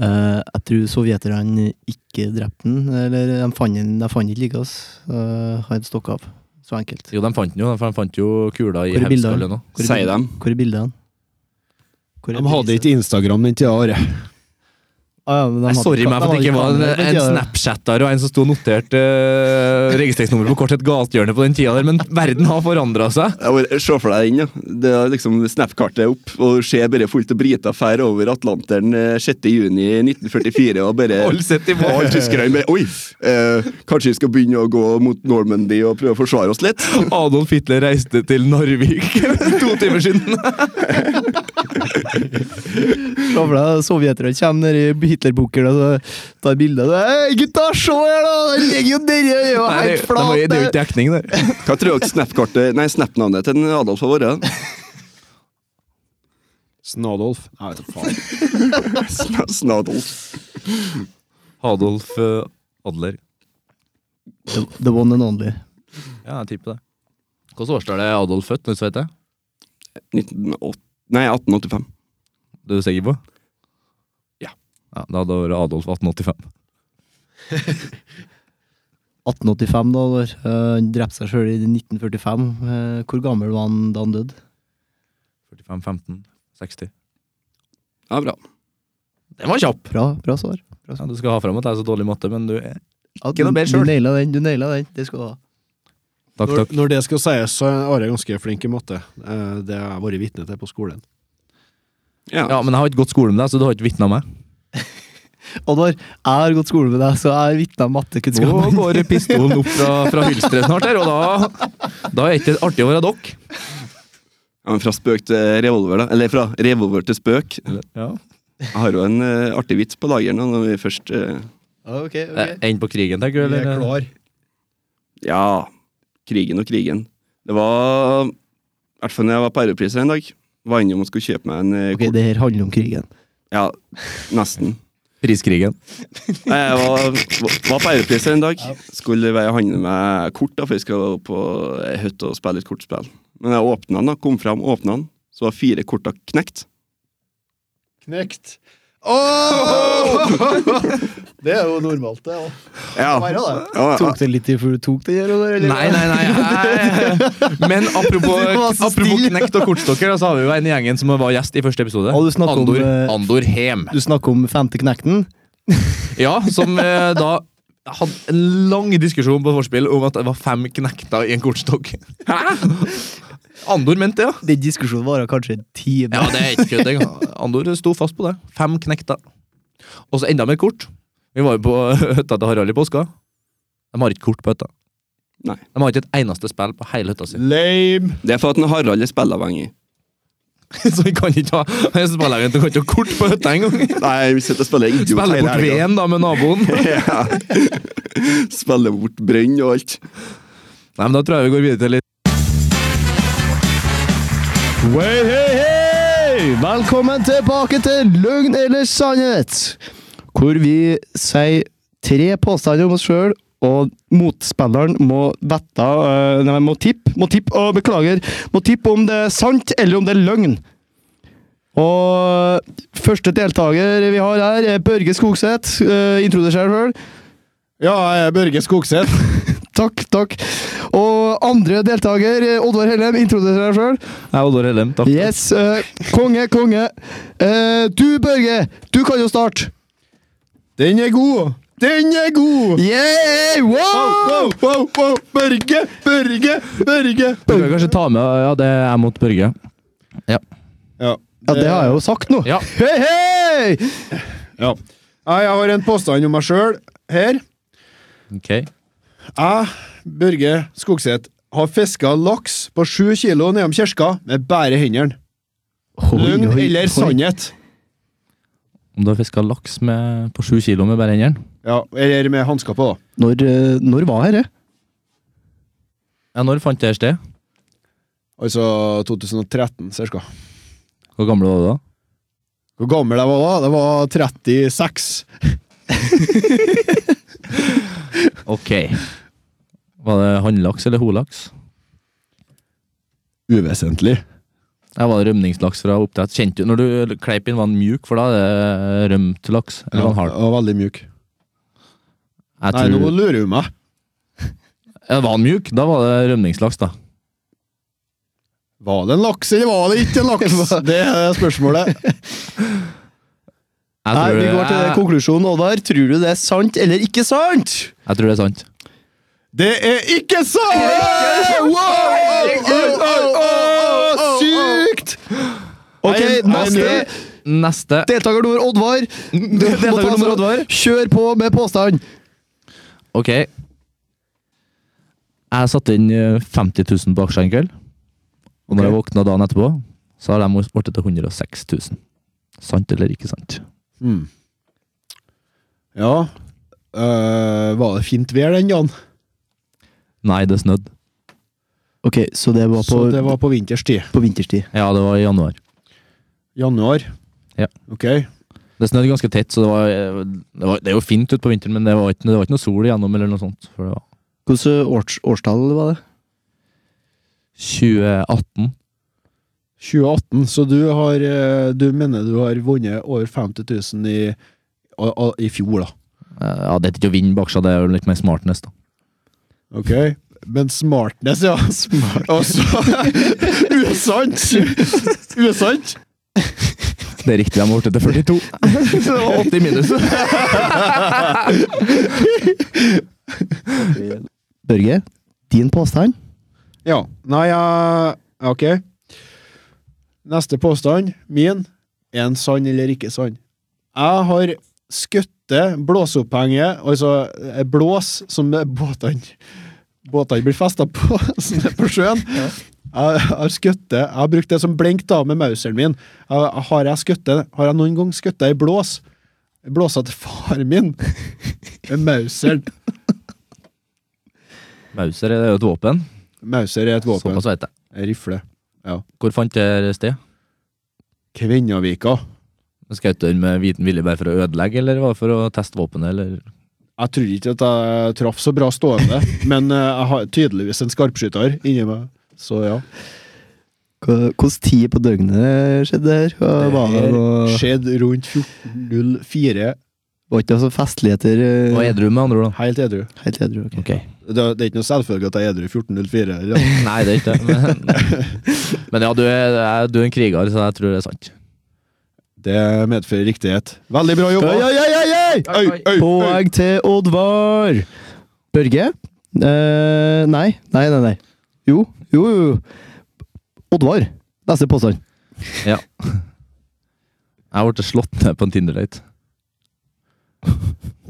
Speaker 8: Eh, jeg tror sovjeterne ikke drepte den, eller de fant den, de fant ikke liket hans. Uh, han stakk av. Så enkelt.
Speaker 2: Jo, de fant den jo, for de fant jo kula i
Speaker 8: Hvor er bildene?
Speaker 2: hevskallen. og-
Speaker 8: Hvor er
Speaker 7: Sier dem.
Speaker 8: Hvor er bildene? Hvor er
Speaker 1: De hadde
Speaker 8: beviset?
Speaker 1: ikke Instagram den tida, Are.
Speaker 8: Ah, ja, men de
Speaker 2: Nei,
Speaker 8: hadde
Speaker 2: sorry meg
Speaker 8: ikke- de
Speaker 2: for at
Speaker 8: hadde
Speaker 2: det ikke var en,
Speaker 8: kamera på den
Speaker 2: en
Speaker 8: tiden.
Speaker 2: Snapchatter og en som sto notert uh, registreringsnummeret på kort et gathjørne på den tida der, men verden har forandra seg.
Speaker 7: Jeg bare, Se for deg den, ja. Det er liksom Snap-kartet er opp, og du ser bare fullt av briter fære over Atlanteren eh, 6. juni 1944, og bare
Speaker 2: (laughs) Alle sitter i
Speaker 7: Og alle tyskerne bare Oi! Eh, kanskje vi skal begynne å gå mot Normandy og prøve å forsvare oss litt?
Speaker 2: Adolf Hitler reiste til Narvik (laughs) to timer siden.
Speaker 8: Se for deg sovjeterne kommer ned i Hitlerbunkeren og så tar bilder. og så, Hei, gutta, se her, da! Den ligger jo nedi! Det er jo
Speaker 2: Nei,
Speaker 8: helt
Speaker 2: det, det,
Speaker 8: flat!
Speaker 2: det er jo
Speaker 8: det!»
Speaker 2: ikke dekning der.
Speaker 7: Hva tror dere Snap-kartet Nei, Snap-navnet til en Adolf har vært?
Speaker 1: Snadolf. Nei, vet du faen.
Speaker 7: Sna- Snadolf.
Speaker 2: Adolf eh, Adler.
Speaker 8: The- The one and only.
Speaker 2: Ja, jeg tipper det. Hvilket årstall er Adolf født? Hvis du vet det?
Speaker 7: 1908 Nei, 1885.
Speaker 2: Det er du sikker på?
Speaker 7: Ja.
Speaker 2: ja da hadde det vært Adolf 1885.
Speaker 8: 1885, da. Når, eh, han drepte seg sjøl i 1945. Eh, hvor gammel var han da han døde?
Speaker 2: 45, 15, 60.
Speaker 7: Ja, bra.
Speaker 2: Den var kjapp!
Speaker 8: Bra, bra svar.
Speaker 2: Ja, du skal ha fram at jeg er så dårlig i matte, men du er
Speaker 8: Ja,
Speaker 2: Ikke noe
Speaker 8: du-
Speaker 2: bedre selv.
Speaker 8: Du naila den, du naila den. Det skal du ha.
Speaker 2: Takk,
Speaker 1: Når,
Speaker 2: takk.
Speaker 1: når det skal sies, så er Are ganske flink i matte. Eh, Det har jeg vært vitne til på skolen.
Speaker 7: Ja.
Speaker 2: Ja, Men jeg har ikke gått skole med deg, så du har ikke vitna meg.
Speaker 8: Oddvar, jeg har gått skole med deg, så jeg er vitne av
Speaker 2: Nå
Speaker 8: mattekunnskapen.
Speaker 2: går pistolen opp fra, fra hylsteret snart, her, og da, da er det ikke artig å være dokk.
Speaker 7: Ja, men fra spøk til revolver, da. Eller fra revolver til spøk.
Speaker 2: Ja.
Speaker 7: Jeg har jo en eh, artig vits på lager nå, når vi først eh,
Speaker 8: (laughs) Ok,
Speaker 2: Eh, Enn på krigen, tenker du? Eller?
Speaker 7: Ja, krigen og krigen. Det var I hvert fall når jeg var på Europris en dag. Var innom og skulle kjøpe meg en eh,
Speaker 8: Ok, det her handler om krigen.
Speaker 7: kort- Ja, nesten.
Speaker 2: Priskrigen.
Speaker 7: Nei, Jeg Eh, var, var på Europris en dag. Skulle være og handle med kort, da, for vi skal på ei hytte og spille litt kortspill. Men jeg åpna den, da, kom fram, åpna den, så var fire korta knekt.
Speaker 1: Knekt. Åh! Det er jo normalt, det. også.
Speaker 7: Ja.
Speaker 1: Bare det.
Speaker 7: Ja, ja.
Speaker 8: Tok det litt tid før du tok det? her, Oddvar, eller?
Speaker 2: Nei, nei, nei. jeg- Men (laughs)
Speaker 8: Du var
Speaker 2: apropos,
Speaker 8: så
Speaker 2: apropos
Speaker 8: stille.
Speaker 2: knekt og kortstokker, da, så har vi jo en i gjengen som var gjest i første episode.
Speaker 8: Og du snakker om,
Speaker 2: Andor,
Speaker 8: eh,
Speaker 2: Andor Hem.
Speaker 8: Du snakker om femte knekten.
Speaker 2: Ja, som eh, da hadde en lang diskusjon på Forspill om at det var fem knekter i en kortstokk. Andor mente det, ja.
Speaker 8: Den diskusjonen varer kanskje en time.
Speaker 2: Ja, det er ikke kødd engang. Andor sto fast på det. Fem knekta. Og så enda mer kort. Vi var jo på (laughs) hytta til Harald i påska. De har ikke kort på hytta.
Speaker 7: Nei.
Speaker 2: De har ikke et eneste spill på hele hytta si. (laughs)
Speaker 1: Lame!
Speaker 7: Det er for at den Harald er spilleavhengig.
Speaker 2: Så vi kan ikke ha en spillegent som kan ikke ha kort på hytta engang.
Speaker 7: Nei, vi sitter og spiller idiot
Speaker 2: Spille bort veden da med (laughs) naboen.
Speaker 7: (laughs) Ja. Spiller bort brønn og alt.
Speaker 2: Nei, men Da tror jeg vi går videre til litt
Speaker 8: Hei, hei, hei! Velkommen tilbake til Løgn eller sannhet, hvor vi sier tre påstander om oss sjøl, og motspilleren må vette øh, Nei, må tippe. Må tippe, og beklager. Må tippe om det er sant, eller om det er løgn. Og første deltaker vi har her, er Børge Skogseth. Øh, Introduser deg sjøl.
Speaker 1: Ja, jeg er Børge Skogseth.
Speaker 8: Takk, takk. Og andre deltaker, eh, Oddvar Hellem. Introduser deg sjøl.
Speaker 2: Nei, Oddvar Hellem, takk.
Speaker 8: Yes. eh, konge, konge. Eh, du, Børge, du kan jo starte.
Speaker 1: Den er god! Den er god!
Speaker 8: Yeah! Wow!
Speaker 1: Wow, wow, wow! Børge, Børge, Børge!
Speaker 2: Du kan kanskje ta med Ja, det er jeg mot Børge.
Speaker 1: Ja,
Speaker 8: Ja, det har jeg jo sagt nå.
Speaker 2: Ja.
Speaker 8: Hei, hei!
Speaker 1: Ja. Nei, Jeg har en påstand om meg sjøl her.
Speaker 2: Ok.
Speaker 1: Jeg, Børge Skogseth, har fiska laks på sju kilo nedom kirka med bare hendene. Løgn eller sannhet?
Speaker 2: Om du har fiska laks med, på sju kilo med bare hendene?
Speaker 1: Ja, eller med hansker på, da.
Speaker 8: Når, eh, når var dette?
Speaker 2: Ja, når fant det sted?
Speaker 1: Altså 2013, cirka.
Speaker 2: Hvor gammel var du da?
Speaker 1: Hvor gammel jeg var da? Det var 36.
Speaker 2: Ok. (laughs) Var det hannlaks eller holaks?
Speaker 1: Uvesentlig.
Speaker 2: Jeg var rømningslaks fra oppdrett. Kjente du når du kleip inn, var den mjuk, for da er det rømt laks? Eller var den hard?
Speaker 1: og veldig mjuk.
Speaker 2: Jeg
Speaker 1: Nei, nå
Speaker 2: tror,
Speaker 1: lurer hun meg.
Speaker 2: ja, var den mjuk? Da var det rømningslaks, da.
Speaker 1: Var det en laks, eller var det
Speaker 8: (laughs)
Speaker 1: ikke en laks? Det er spørsmålet.
Speaker 2: Jeg
Speaker 8: Nei,
Speaker 2: tror,
Speaker 8: vi går til
Speaker 2: jeg,
Speaker 8: konklusjonen, Oddvar. Tror du det er sant eller ikke sant?
Speaker 2: jeg tror det er sant.
Speaker 1: Det er ikke sant! Wow! Wow!
Speaker 8: Sykt! Ok,
Speaker 2: Nei, nei,
Speaker 8: neste.
Speaker 2: Neste.
Speaker 8: Deltaker nummer
Speaker 1: (laughs)
Speaker 8: Oddvar. Du må
Speaker 2: Deltaker
Speaker 8: ta
Speaker 2: nummer
Speaker 8: så-
Speaker 2: Oddvar.
Speaker 8: Kjør på med påstand.
Speaker 2: Ok. Jeg satte inn eh, 50 000 på aksjer en kveld. Og når jeg våkna dagen etterpå, så har de blitt til 106 000. Sant eller ikke sant?
Speaker 1: Hmm. Ja øh, Var det fint vær den dagen?
Speaker 2: Nei, det snødde.
Speaker 8: Ok, så det var
Speaker 1: Så det var på vinterstid.
Speaker 8: på vinterstid.
Speaker 2: Ja, det var i januar.
Speaker 1: Januar.
Speaker 2: Ja.
Speaker 1: Ok.
Speaker 2: Det snødde ganske tett, så det var, eh, det var Det er jo fint ute på vinteren, men det var ikke, det var ikke noe sol igjennom eller noe sånt. For det var
Speaker 8: Hvilket eh, års, årstall var det?
Speaker 2: 2018.
Speaker 1: 2018, så du har øh, Du mener du har vunnet over 50 000 i, a- a- i fjor, da.
Speaker 2: Eh, Ja, det er ikke å vinne på aksjer, det er jo litt mer smartness, da.
Speaker 1: Ok? Men smartness, ja. (laughs) Smart. Altså Usant! Usant!
Speaker 2: Det er riktig, de har blitt til 42. Så det var 80 minus.
Speaker 8: Børge, din påstand?
Speaker 1: Ja. Nei, jeg Ok. Neste påstand, min, er en sann eller ikke sann. Jeg har skutt blåseopphenget, altså eh, blås som båtene båtene blir festa på (laughs) som er på sjøen. Jeg har skutt det. Jeg har brukt det som blink da med mauseren min. Jeg, har, jeg skutt det- har jeg noen gang skutt ei blås? Blåsa til faren min (laughs) med mauseren.
Speaker 2: Mauser er jo et våpen.
Speaker 1: Mauser er et våpen.
Speaker 2: Såpass vet jeg.
Speaker 1: En Rifle.
Speaker 2: Hvor fant dere sted?
Speaker 1: Kvinnavika.
Speaker 2: Skjøt dere med viten vilje bare for å ødelegge, eller var det for å teste våpenet, eller
Speaker 1: Jeg tror ikke at jeg traff så bra stående, (laughs) men eh, jeg har tydeligvis en skarpskytter inni meg. Så ja.
Speaker 8: Hvilken tid på døgnet skjedde her? Og Var det noe
Speaker 1: Skjedde rundt 14.04.
Speaker 8: Var ikke noe sånn festligheter? eh,
Speaker 2: Og edru, med andre ord,
Speaker 1: Helt edru.
Speaker 8: Helt edru, ok.
Speaker 2: Ok.
Speaker 1: Det, det er ikke noe selvfølge at jeg er edru 14.04. Ja.
Speaker 2: Nei, det er ikke det. (laughs) Men, men ja, du er, du er en kriger, så jeg tror det er sant.
Speaker 1: Det medfører riktighet. Veldig bra jobba!
Speaker 8: Oi, oi, oi, oi, oi!
Speaker 1: Oi, oi, oi.
Speaker 8: Poeng til Oddvar! Børge? Eh, nei. Nei, nei, nei. Jo, jo, jo, jo. Oddvar. Neste påstand.
Speaker 2: Jeg ble slått ned på en Tinder-date.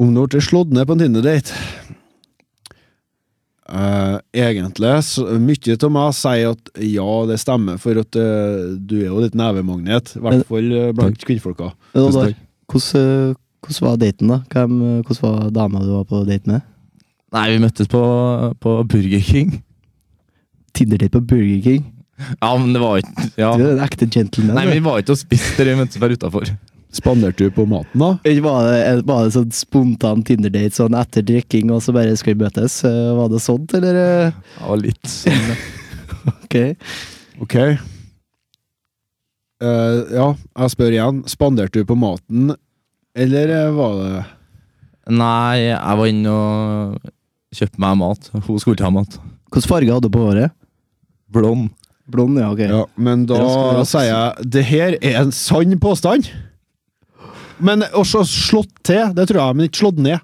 Speaker 1: Om du ble slått ned på en Tinder-date Eh, Egentlig, så mye av meg sier at ja, det stemmer, for at eh, du er jo litt nevemagnet. I hvert fall eh, blant kvinnfolka.
Speaker 8: Men Oddvar, hvordan, eh, hvordan var daten, da? Hvem, eh, hvordan var dama du var på date med?
Speaker 2: Nei, vi møttes på, på Burger King.
Speaker 8: Tinder-date på Burger King.
Speaker 2: Ja, men det var ikke ja.
Speaker 8: Du er en ekte gentleman.
Speaker 2: Nei,
Speaker 8: du.
Speaker 2: men vi var ikke og spiste der, vi møttes bare utafor.
Speaker 1: Spanderte du på maten, da?
Speaker 8: Eller Var det, var det sånn spontan Tinder-date sånn etter drikking, og så bare skal vi møtes? Eh, Var det sånt, eller? eh?
Speaker 2: Ja, litt sånn. ja.
Speaker 8: Ok.
Speaker 1: Ok. Eh, ja, jeg spør igjen. Spanderte du på maten, eller eh, var det
Speaker 2: Nei, jeg var inne og kjøpte meg mat. Hun skulle ikke ha mat.
Speaker 8: Hvilken farge hadde du på håret?
Speaker 2: Blond.
Speaker 8: Blond, ja, ok.
Speaker 1: Ja, men da
Speaker 8: Rask- rask.
Speaker 1: sier jeg det her er en sann påstand. Men også slått til, det tror jeg, men ikke slått ned.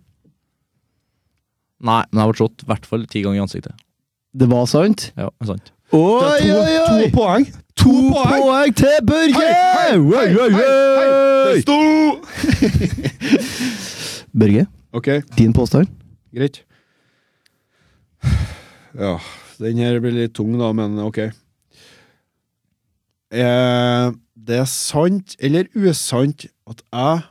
Speaker 2: Nei, men jeg ble slått i hvert fall ti ganger i ansiktet.
Speaker 8: Det var sant?
Speaker 2: Ja, sant.
Speaker 8: Oi,
Speaker 1: Det er to,
Speaker 8: oi, oi!
Speaker 1: to poeng. To, poeng!
Speaker 8: Poeng til Børge! Oi, oi, oi! Børge,
Speaker 1: Ok,
Speaker 8: din påstand?
Speaker 1: greit. (sighs) Ja, den her blir litt tung, da, men ok. Er det sant eller usant at jeg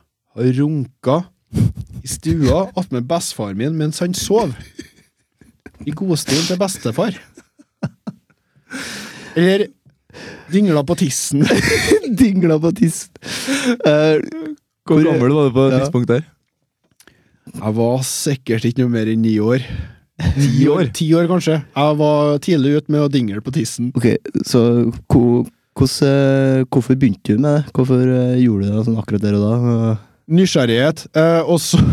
Speaker 1: har runka i stua attmed bestefaren min mens han sov? I godstolen til bestefar. Eller dingla på tissen.
Speaker 8: Dingla på tissen. Eh,
Speaker 2: Hvor
Speaker 8: gammel
Speaker 2: var du på
Speaker 8: det
Speaker 2: tidspunkt der?
Speaker 1: Jeg var sikkert ikke noe mer enn ni år. Ti
Speaker 8: år?
Speaker 1: Ti år, kanskje. Jeg var tidlig ute med å dingle på tissen.
Speaker 8: Ok, så hvor- hvordan, eh, hvorfor begynte du med det? Hvorfor eh, gjorde du det sånn akkurat der og da?
Speaker 1: Nysgjerrighet. Eh, og så (laughs)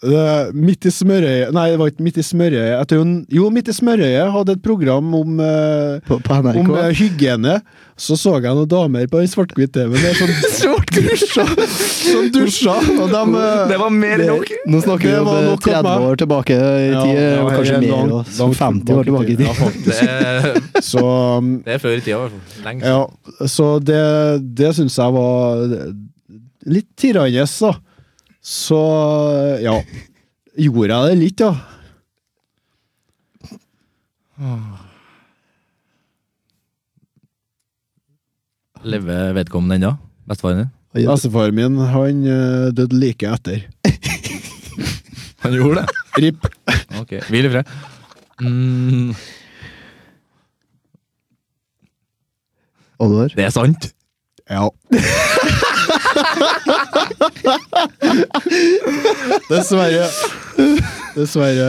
Speaker 1: Eh, Midt i smørøyet Nei, det var ikke midt i smørøyet. Jeg tror, jo, midt i smørøyet hadde et program om eh,
Speaker 8: På, på NRK?
Speaker 1: Om eh, hygiene, så så jeg noen damer på en svart-hvitt-TV med sånn
Speaker 2: (laughs)
Speaker 1: (laughs) dusja, som dusja, og de eh,
Speaker 2: Det var mer enn nok.
Speaker 8: Nå snakker vi
Speaker 1: Det
Speaker 8: om
Speaker 1: var
Speaker 8: eh,
Speaker 1: nok av
Speaker 8: 30
Speaker 1: meg.
Speaker 8: år tilbake i
Speaker 1: ja,
Speaker 8: tid, eh,
Speaker 1: ja,
Speaker 8: og kanskje
Speaker 1: det er
Speaker 8: mer,
Speaker 1: langt-
Speaker 8: og
Speaker 1: langt
Speaker 8: 50 år tilbake i tid.
Speaker 1: Ja, faktisk.
Speaker 2: Det er,
Speaker 1: Så, um,
Speaker 2: det er før i tida, i hvert fall. Lenge siden.
Speaker 1: ja, så det, det syns jeg var litt tirrende, da. Så ja. Gjorde jeg det litt, ja.
Speaker 2: Lever vedkommende ennå? Bestefaren din?
Speaker 1: Bestefaren min han eh, døde like etter.
Speaker 2: Han gjorde det?
Speaker 1: RIP.
Speaker 2: Ok, Hvil i fred. Mm,
Speaker 8: Oddvar?
Speaker 2: det er sant.
Speaker 8: (laughs)
Speaker 1: Ja. Dessverre. Dessverre.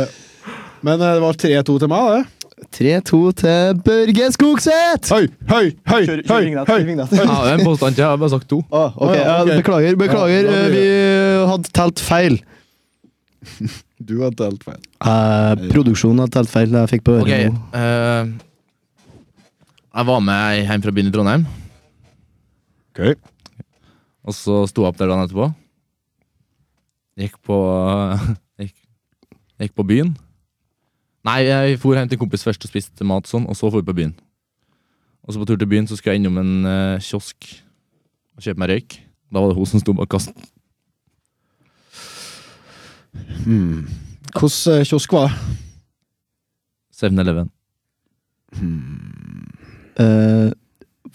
Speaker 1: Men eh, det var 3-2 til meg, det.
Speaker 8: 3-2 til Børge Skogseth!
Speaker 1: Høy, høy, høy,
Speaker 8: Kjør- kjør
Speaker 1: høy,
Speaker 8: vignett,
Speaker 1: høy.
Speaker 8: kjør vignett.
Speaker 2: Ja, det er en påstand til. Jeg har bare sagt to.
Speaker 8: Ah, ok,
Speaker 1: ja,
Speaker 8: ja,
Speaker 1: ok.
Speaker 8: Beklager, beklager.
Speaker 1: Ja, da
Speaker 8: eh,
Speaker 1: blir
Speaker 8: vi hadde telt feil.
Speaker 1: Du har telt feil.
Speaker 8: Eh, produksjonen hadde telt feil. Jeg fikk på øret
Speaker 2: Ok,
Speaker 8: nå.
Speaker 2: eh, Jeg var med hjem fra byen i Trondheim,
Speaker 1: Okay.
Speaker 2: og så sto jeg opp der dagen etterpå. Gikk på (laughs) gikk, gikk på byen. Nei, jeg for hjem til en kompis først og spiste mat og sånn, og så for vi på byen. Og så på tur til byen så skulle jeg innom en eh, kiosk og kjøpe meg røyk. Da var det hun som sto bak kassen.
Speaker 8: Hmm.
Speaker 1: Hvordan eh, kiosk var det?
Speaker 2: 7-Eleven.
Speaker 8: Hmm. Eh,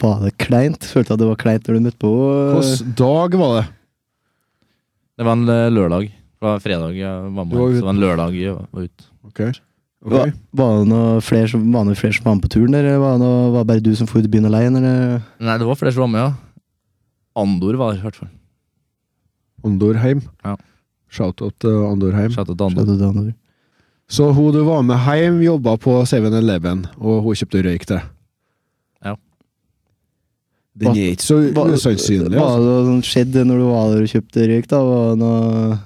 Speaker 8: var det kleint? Følte at det var kleint når du møtte på henne.
Speaker 1: Hvordan dag var det?
Speaker 2: Det var en eh, lørdag. Det var fredag jeg var med,
Speaker 1: Du var
Speaker 2: så
Speaker 1: ute.
Speaker 2: det var en lørdag jeg var ute.
Speaker 1: Ok.
Speaker 8: Hva- Var det noe flere som, var det noe flere som var med på turen, eller var det, noe, var det bare du som for til byen alene? Eller?
Speaker 2: Nei, det var flere som var med, ja. Andor var der, i hvert fall.
Speaker 1: Andorheim.
Speaker 2: Ja.
Speaker 1: Shout-out til Andorheim.
Speaker 2: Shout out til Andor.
Speaker 8: Skjønte du det, Andor?
Speaker 1: Så hun du var med hjem, jobba på 7-Eleven, og hun kjøpte røyk til.
Speaker 2: Ja.
Speaker 1: Den er ikke så
Speaker 8: Hva-
Speaker 1: usannsynlig.
Speaker 8: Var
Speaker 1: Altså.
Speaker 8: det noe som skjedde når du var der og kjøpte røyk, da? Var det noe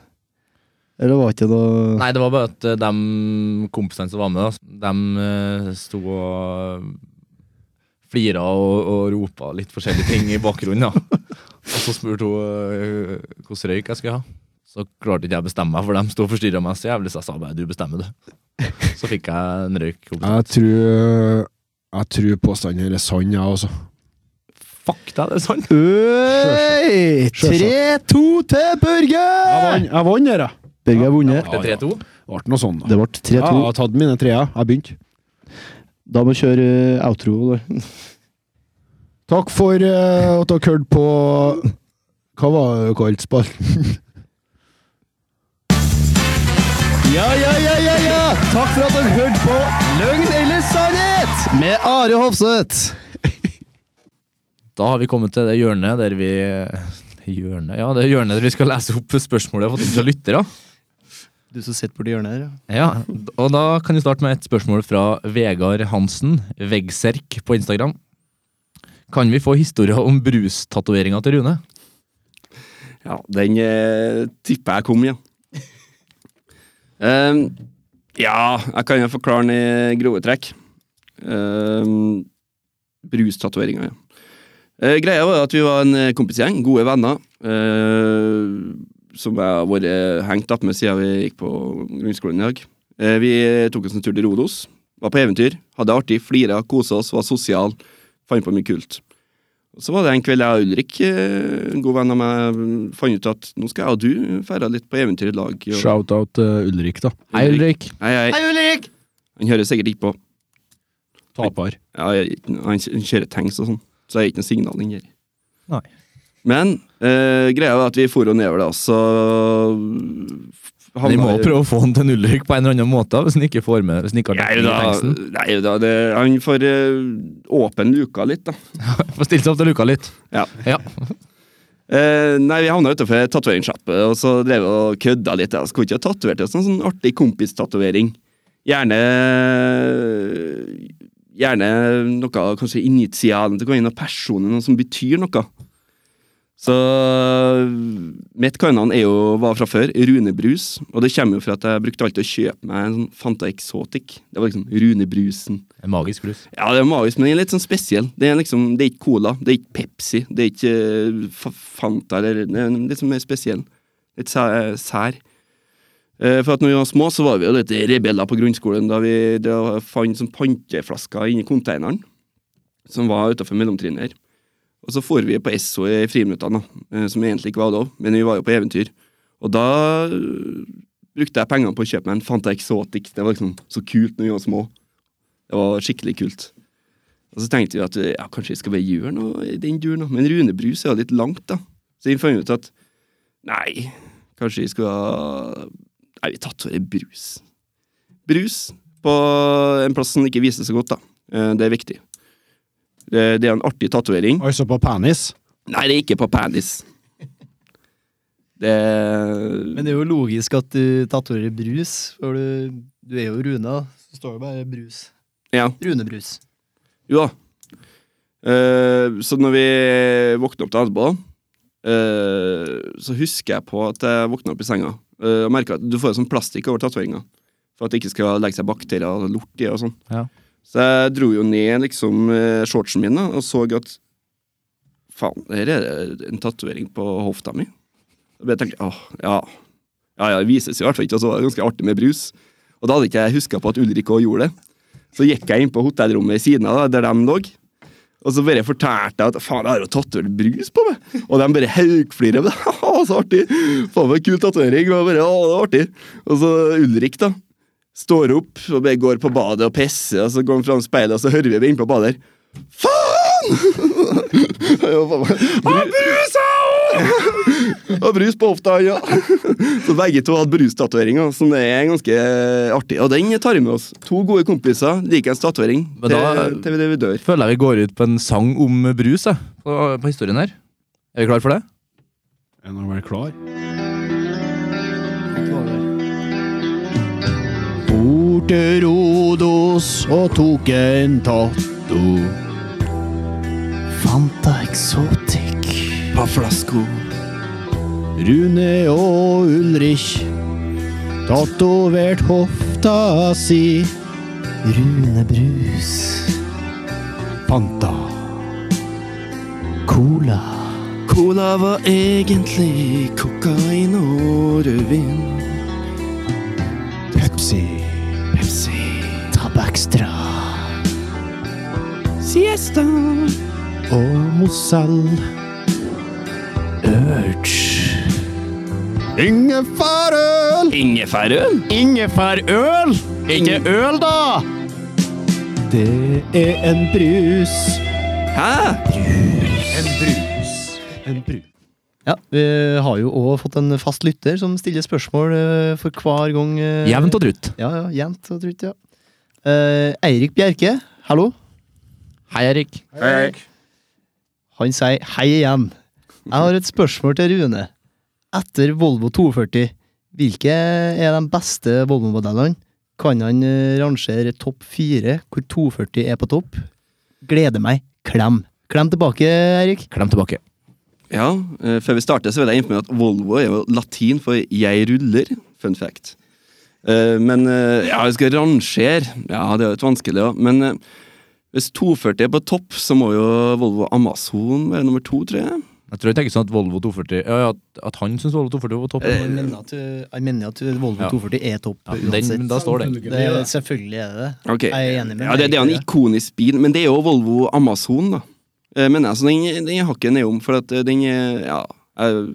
Speaker 8: Eller var det ikke noe
Speaker 2: Nei, det var bare at eh, de kompisene som var med, da, de eh, sto og flira og, og ropa litt forskjellige ting i bakgrunnen. (laughs) da. Og så spurte hun eh, hvordan røyk jeg skulle ha. Så klarte ikke jeg å bestemme meg, for de sto og forstyrra meg så jævlig, så jeg sa bare 'du bestemmer, du'. (laughs) Så fikk jeg en røyk.
Speaker 1: Jeg tror, jeg tror påstanden her er sann, jeg, altså.
Speaker 2: Fuck deg, det er sant!
Speaker 8: Øy!
Speaker 1: Sjølsagt.
Speaker 8: 3-2 til Børge!
Speaker 1: Jeg vant her, jeg.
Speaker 8: Børge har vunnet.
Speaker 2: Det er 3-2.
Speaker 1: Ble noe sånn, da.
Speaker 8: Det ble
Speaker 1: Ja, jeg
Speaker 8: 3-2.
Speaker 1: har tatt mine treer. Jeg begynte.
Speaker 8: Da må vi kjøre eh, outro. da.
Speaker 1: Takk for eh, at dere hørte på Hva var det dere kalte spalten?
Speaker 8: Ja, ja, ja, ja, ja! Takk for at dere hørte på Løgn eller sannhet med Are Hofseth.
Speaker 2: Da har vi kommet til det hjørnet der vi Hjørnet? Ja, det hjørnet der vi skal lese opp spørsmålet jeg har fått inn fra lyttere.
Speaker 8: Du som sitter borti hjørnet her, ja.
Speaker 2: Ja, og da kan vi starte med et spørsmål fra Vegard Hansen, Veggserk på Instagram. Kan vi få historier om brustatoveringa til Rune?
Speaker 7: Ja, den eh, tipper jeg kom, ja. Ehm, ja, jeg kan jo forklare den i grove trekk. Um, Brustatoveringa, ja. Eh, greia var at vi var en eh, kompisgjeng, gode venner, eh, som jeg har vært eh, hengt opp med siden vi gikk på grunnskolen i dag. Eh, vi tok oss en tur til Rodos, var på eventyr, hadde det artig, flira, kosa oss, var sosial, fant på mye kult. Og Så var det en kveld jeg og Ulrik, eh, en god venn av meg, mm, fant ut at nå skal jeg og du ferde litt på eventyr i lag. og-
Speaker 1: Shout-out til Ulrik, da.
Speaker 2: Hei, Ulrik.
Speaker 7: Hei, hei. Han hører sikkert ikke på.
Speaker 1: Taper.
Speaker 7: Ja, jeg, han kjører tanks og sånn, så jeg er ikke noe signal den gir.
Speaker 2: Nei.
Speaker 7: Men eh, greia var at vi for og nedover da, så
Speaker 2: Vi må
Speaker 7: havna-
Speaker 2: prøve å få han til en Ulrik på en eller annen måte, hvis han ikke får med hvis han ikke har
Speaker 7: Nei da,
Speaker 2: teksten.
Speaker 7: nei, da det, han får eh, åpen luka litt, da.
Speaker 2: Få stilt seg opp til luka litt.
Speaker 7: Ja.
Speaker 2: Ja.
Speaker 7: Eh, nei, Vi havna utafor tatoveringssjappe og så drev vi og kødda litt. Jeg skulle ikke ha tatovert en sånn, sånn artig kompistatovering. Gjerne Gjerne noe kanskje initialen til hver personen, noe som betyr noe. Så mitt kallenavn er jo var fra før Rune Brus, og det kommer jo fra at jeg brukte alltid å kjøpe meg en sånn Fanta Exotic. Det var liksom Rune Brusen.
Speaker 2: En magisk brus.
Speaker 7: Ja, det er magisk, men den er litt sånn spesiell. Det er liksom, det er ikke Cola, det er ikke Pepsi, det er ikke eh, Fa- Fanta, eller det er litt sånn mer spesiell. Litt sæ- sær. Eh, For at når vi var små, så var vi jo litt rebeller på grunnskolen da vi da fant sånn panteflasker inni konteineren, som var utafor mellomtrinnet her. Og så for vi på Esso i friminuttene, da, eh, som egentlig ikke var lov, men vi var jo på eventyr. Og da eh, brukte jeg pengene på å kjøpe meg en Fanta Exotic. Det var liksom så kult når vi var små. Det var skikkelig kult. Og så tenkte vi at eh, ja, kanskje vi skal bare gjøre noe i den duren, da. men Rune Brus er jo litt langt, da. Så vi fant ut at nei, kanskje vi skal Nei, vi tatoverer brus. Brus på en plass som ikke vises så godt, da. Eh, Det er viktig. Det det er en artig tatovering.
Speaker 1: Altså på penis.
Speaker 7: Nei, det er ikke på penis. Det
Speaker 8: Men det er jo logisk at du tatoverer brus, for du, du er jo Rune. da. Så står det bare brus.
Speaker 7: Ja.
Speaker 8: Runebrus.
Speaker 7: Jo da. Eh, så når vi våkna opp til etterpå, eh, så husker jeg på at jeg våkna opp i senga eh, og merka at du får sånn plastikk over tatoveringa. For at det ikke skal legge seg bakterier og lort i og sånn.
Speaker 2: Ja.
Speaker 7: Så jeg dro jo ned liksom eh, shortsen min da, og så at faen, her er det en tatovering på hofta mi. Og jeg tenkte åh, ja. Ja, ja, det vises jo i hvert fall ikke, og så var det ganske artig med brus. Og da hadde ikke jeg huska på at Ulrik òg gjorde det. Så gikk jeg inn på hotellrommet i siden av da, der de lå. Og så bare fortalte jeg at faen, jeg har jo tatovert brus på meg! Og de bare haukflirer. (laughs) Haha, så artig! Faen, for en kul tatovering! Og jeg bare, «Å, det var artig. Og så Ulrik, da. Står opp og bare går på badet og pisser, og så går han fram speilet, og så hører vi inne på badet her. Faen! (laughs) Og brus, (laughs) Og brus på hofta, ja. Så begge to hadde brustatoveringer, som det er ganske artig. Og den tar vi med oss. To gode kompiser, likeens tatovering,
Speaker 2: Men
Speaker 7: til,
Speaker 2: da-
Speaker 7: til det vi dør.
Speaker 2: Føler jeg vi går ut på en sang om brus jeg, på, på historien her. Er vi klar for det?
Speaker 1: Er noen vel klar?
Speaker 8: Bort til Rodos og tok en tatto. Fanta Exotic.
Speaker 7: Paflasko.
Speaker 8: Rune og Ulrich. Tatovert hofta si. Rune Brus. Fanta. Cola.
Speaker 7: Cola var egentlig kokain og rødvin.
Speaker 8: Pepsi. Pepsi. Tabakstra.
Speaker 7: Siesta.
Speaker 8: og Mozell. Urge. Ingefærøl!
Speaker 7: Ingefærøl.
Speaker 8: Ingefærøl! Ikke øl, da! Det er en brus.
Speaker 7: Hæ?
Speaker 8: Ja, Vi har jo òg fått en fast lytter som stiller spørsmål eh, for hver gang. eh,
Speaker 2: Jevnt og drutt.
Speaker 8: Ja, ja, jevnt og trutt, ja. Eh, Eirik Bjerke, hallo.
Speaker 2: Hei, Erik.
Speaker 7: Hei.
Speaker 8: Han sier hei igjen. Jeg har et spørsmål til Rune. Etter Volvo 240, hvilke er de beste Volvo-modellene? Kan han eh, rangere topp fire, hvor 240 er på topp? Gleder meg. Klem. Klem tilbake, Eirik.
Speaker 2: Klem tilbake.
Speaker 7: Ja, eh, før vi starter så vil jeg informere at Volvo er jo latin for 'jeg ruller'. Fun fact. Eh, men eh, ja, vi skal rangere. Ja, det er jo litt vanskelig òg. Men eh, hvis 240 er på topp, så må jo Volvo Amazon være nummer to, tror jeg.
Speaker 2: Jeg tror jeg tenker sånn at Volvo 240 ja, ja, at- At han syns Volvo 240 var topp.
Speaker 8: Jeg
Speaker 2: Men,
Speaker 8: mener at, eh, jeg mener at Volvo
Speaker 2: Ja.
Speaker 8: 240 er topp,
Speaker 2: ja,
Speaker 8: uansett.
Speaker 2: den, men da Eh, står den.
Speaker 8: det, selvfølgelig er det det.
Speaker 7: Ok.
Speaker 8: Jeg er enig med
Speaker 7: Ja, det, det er jo en
Speaker 8: Eirik.
Speaker 7: ikonisk bil, men det er jo Volvo Amazon, da. Eh, Men altså, den, den hakker ned om, for at eh, den eh, Ja. eh,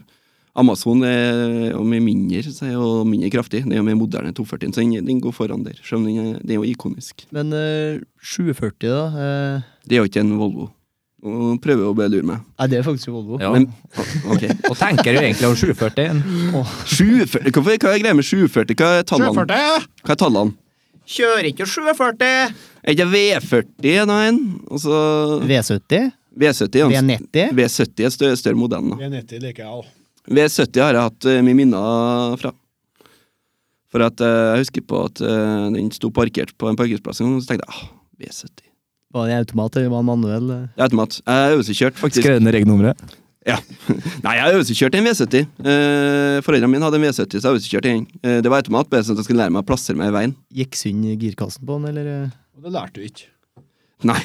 Speaker 7: Amazon er jo mye mindre, så er jo mindre kraftig. Den er jo mer moderne 240, så den, den går foran der. Selv om den er, den er jo ikonisk.
Speaker 8: Men eh, 740, da? eh,
Speaker 7: Det er jo ikke en Volvo. Nå prøver jeg å bare lure meg.
Speaker 8: nei, det er faktisk Volvo.
Speaker 2: Ja.
Speaker 7: Men, ok.
Speaker 2: Og tenker jo egentlig om 741.
Speaker 7: 740, hvorfor, hva er greia med 740? Hva er tallene? Hva er tallene?
Speaker 8: Kjører ikke 740!
Speaker 7: Er det V40, nei? Og så
Speaker 8: V70?
Speaker 7: V70 er en-
Speaker 8: V90.
Speaker 7: V70 er større, større modellen. da.
Speaker 1: V90 liker jeg òg.
Speaker 7: V70 har jeg hatt eh, mye minner fra. For at eh, jeg husker på at eh, den sto parkert på en parkeringsplass en gang, og så tenkte jeg ah, V70.
Speaker 8: Var det automat eller var det manuell? eh,
Speaker 7: Jeg vet ikke, Matt. Jeg har øvelseskjørt, faktisk.
Speaker 2: Skrev ned regnummeret.
Speaker 7: (laughs) Nei, jeg har øvelseskjørt en V70. Eh, foreldrene mine hadde en V70, så jeg øvelseskjørte en. Eh, det var automat, bare sånn at jeg skulle lære meg å plassere meg i veien. (laughs)
Speaker 8: Gikk sund girkassen på den, eller? eh?
Speaker 1: Og det lærte du ikke.
Speaker 7: Nei.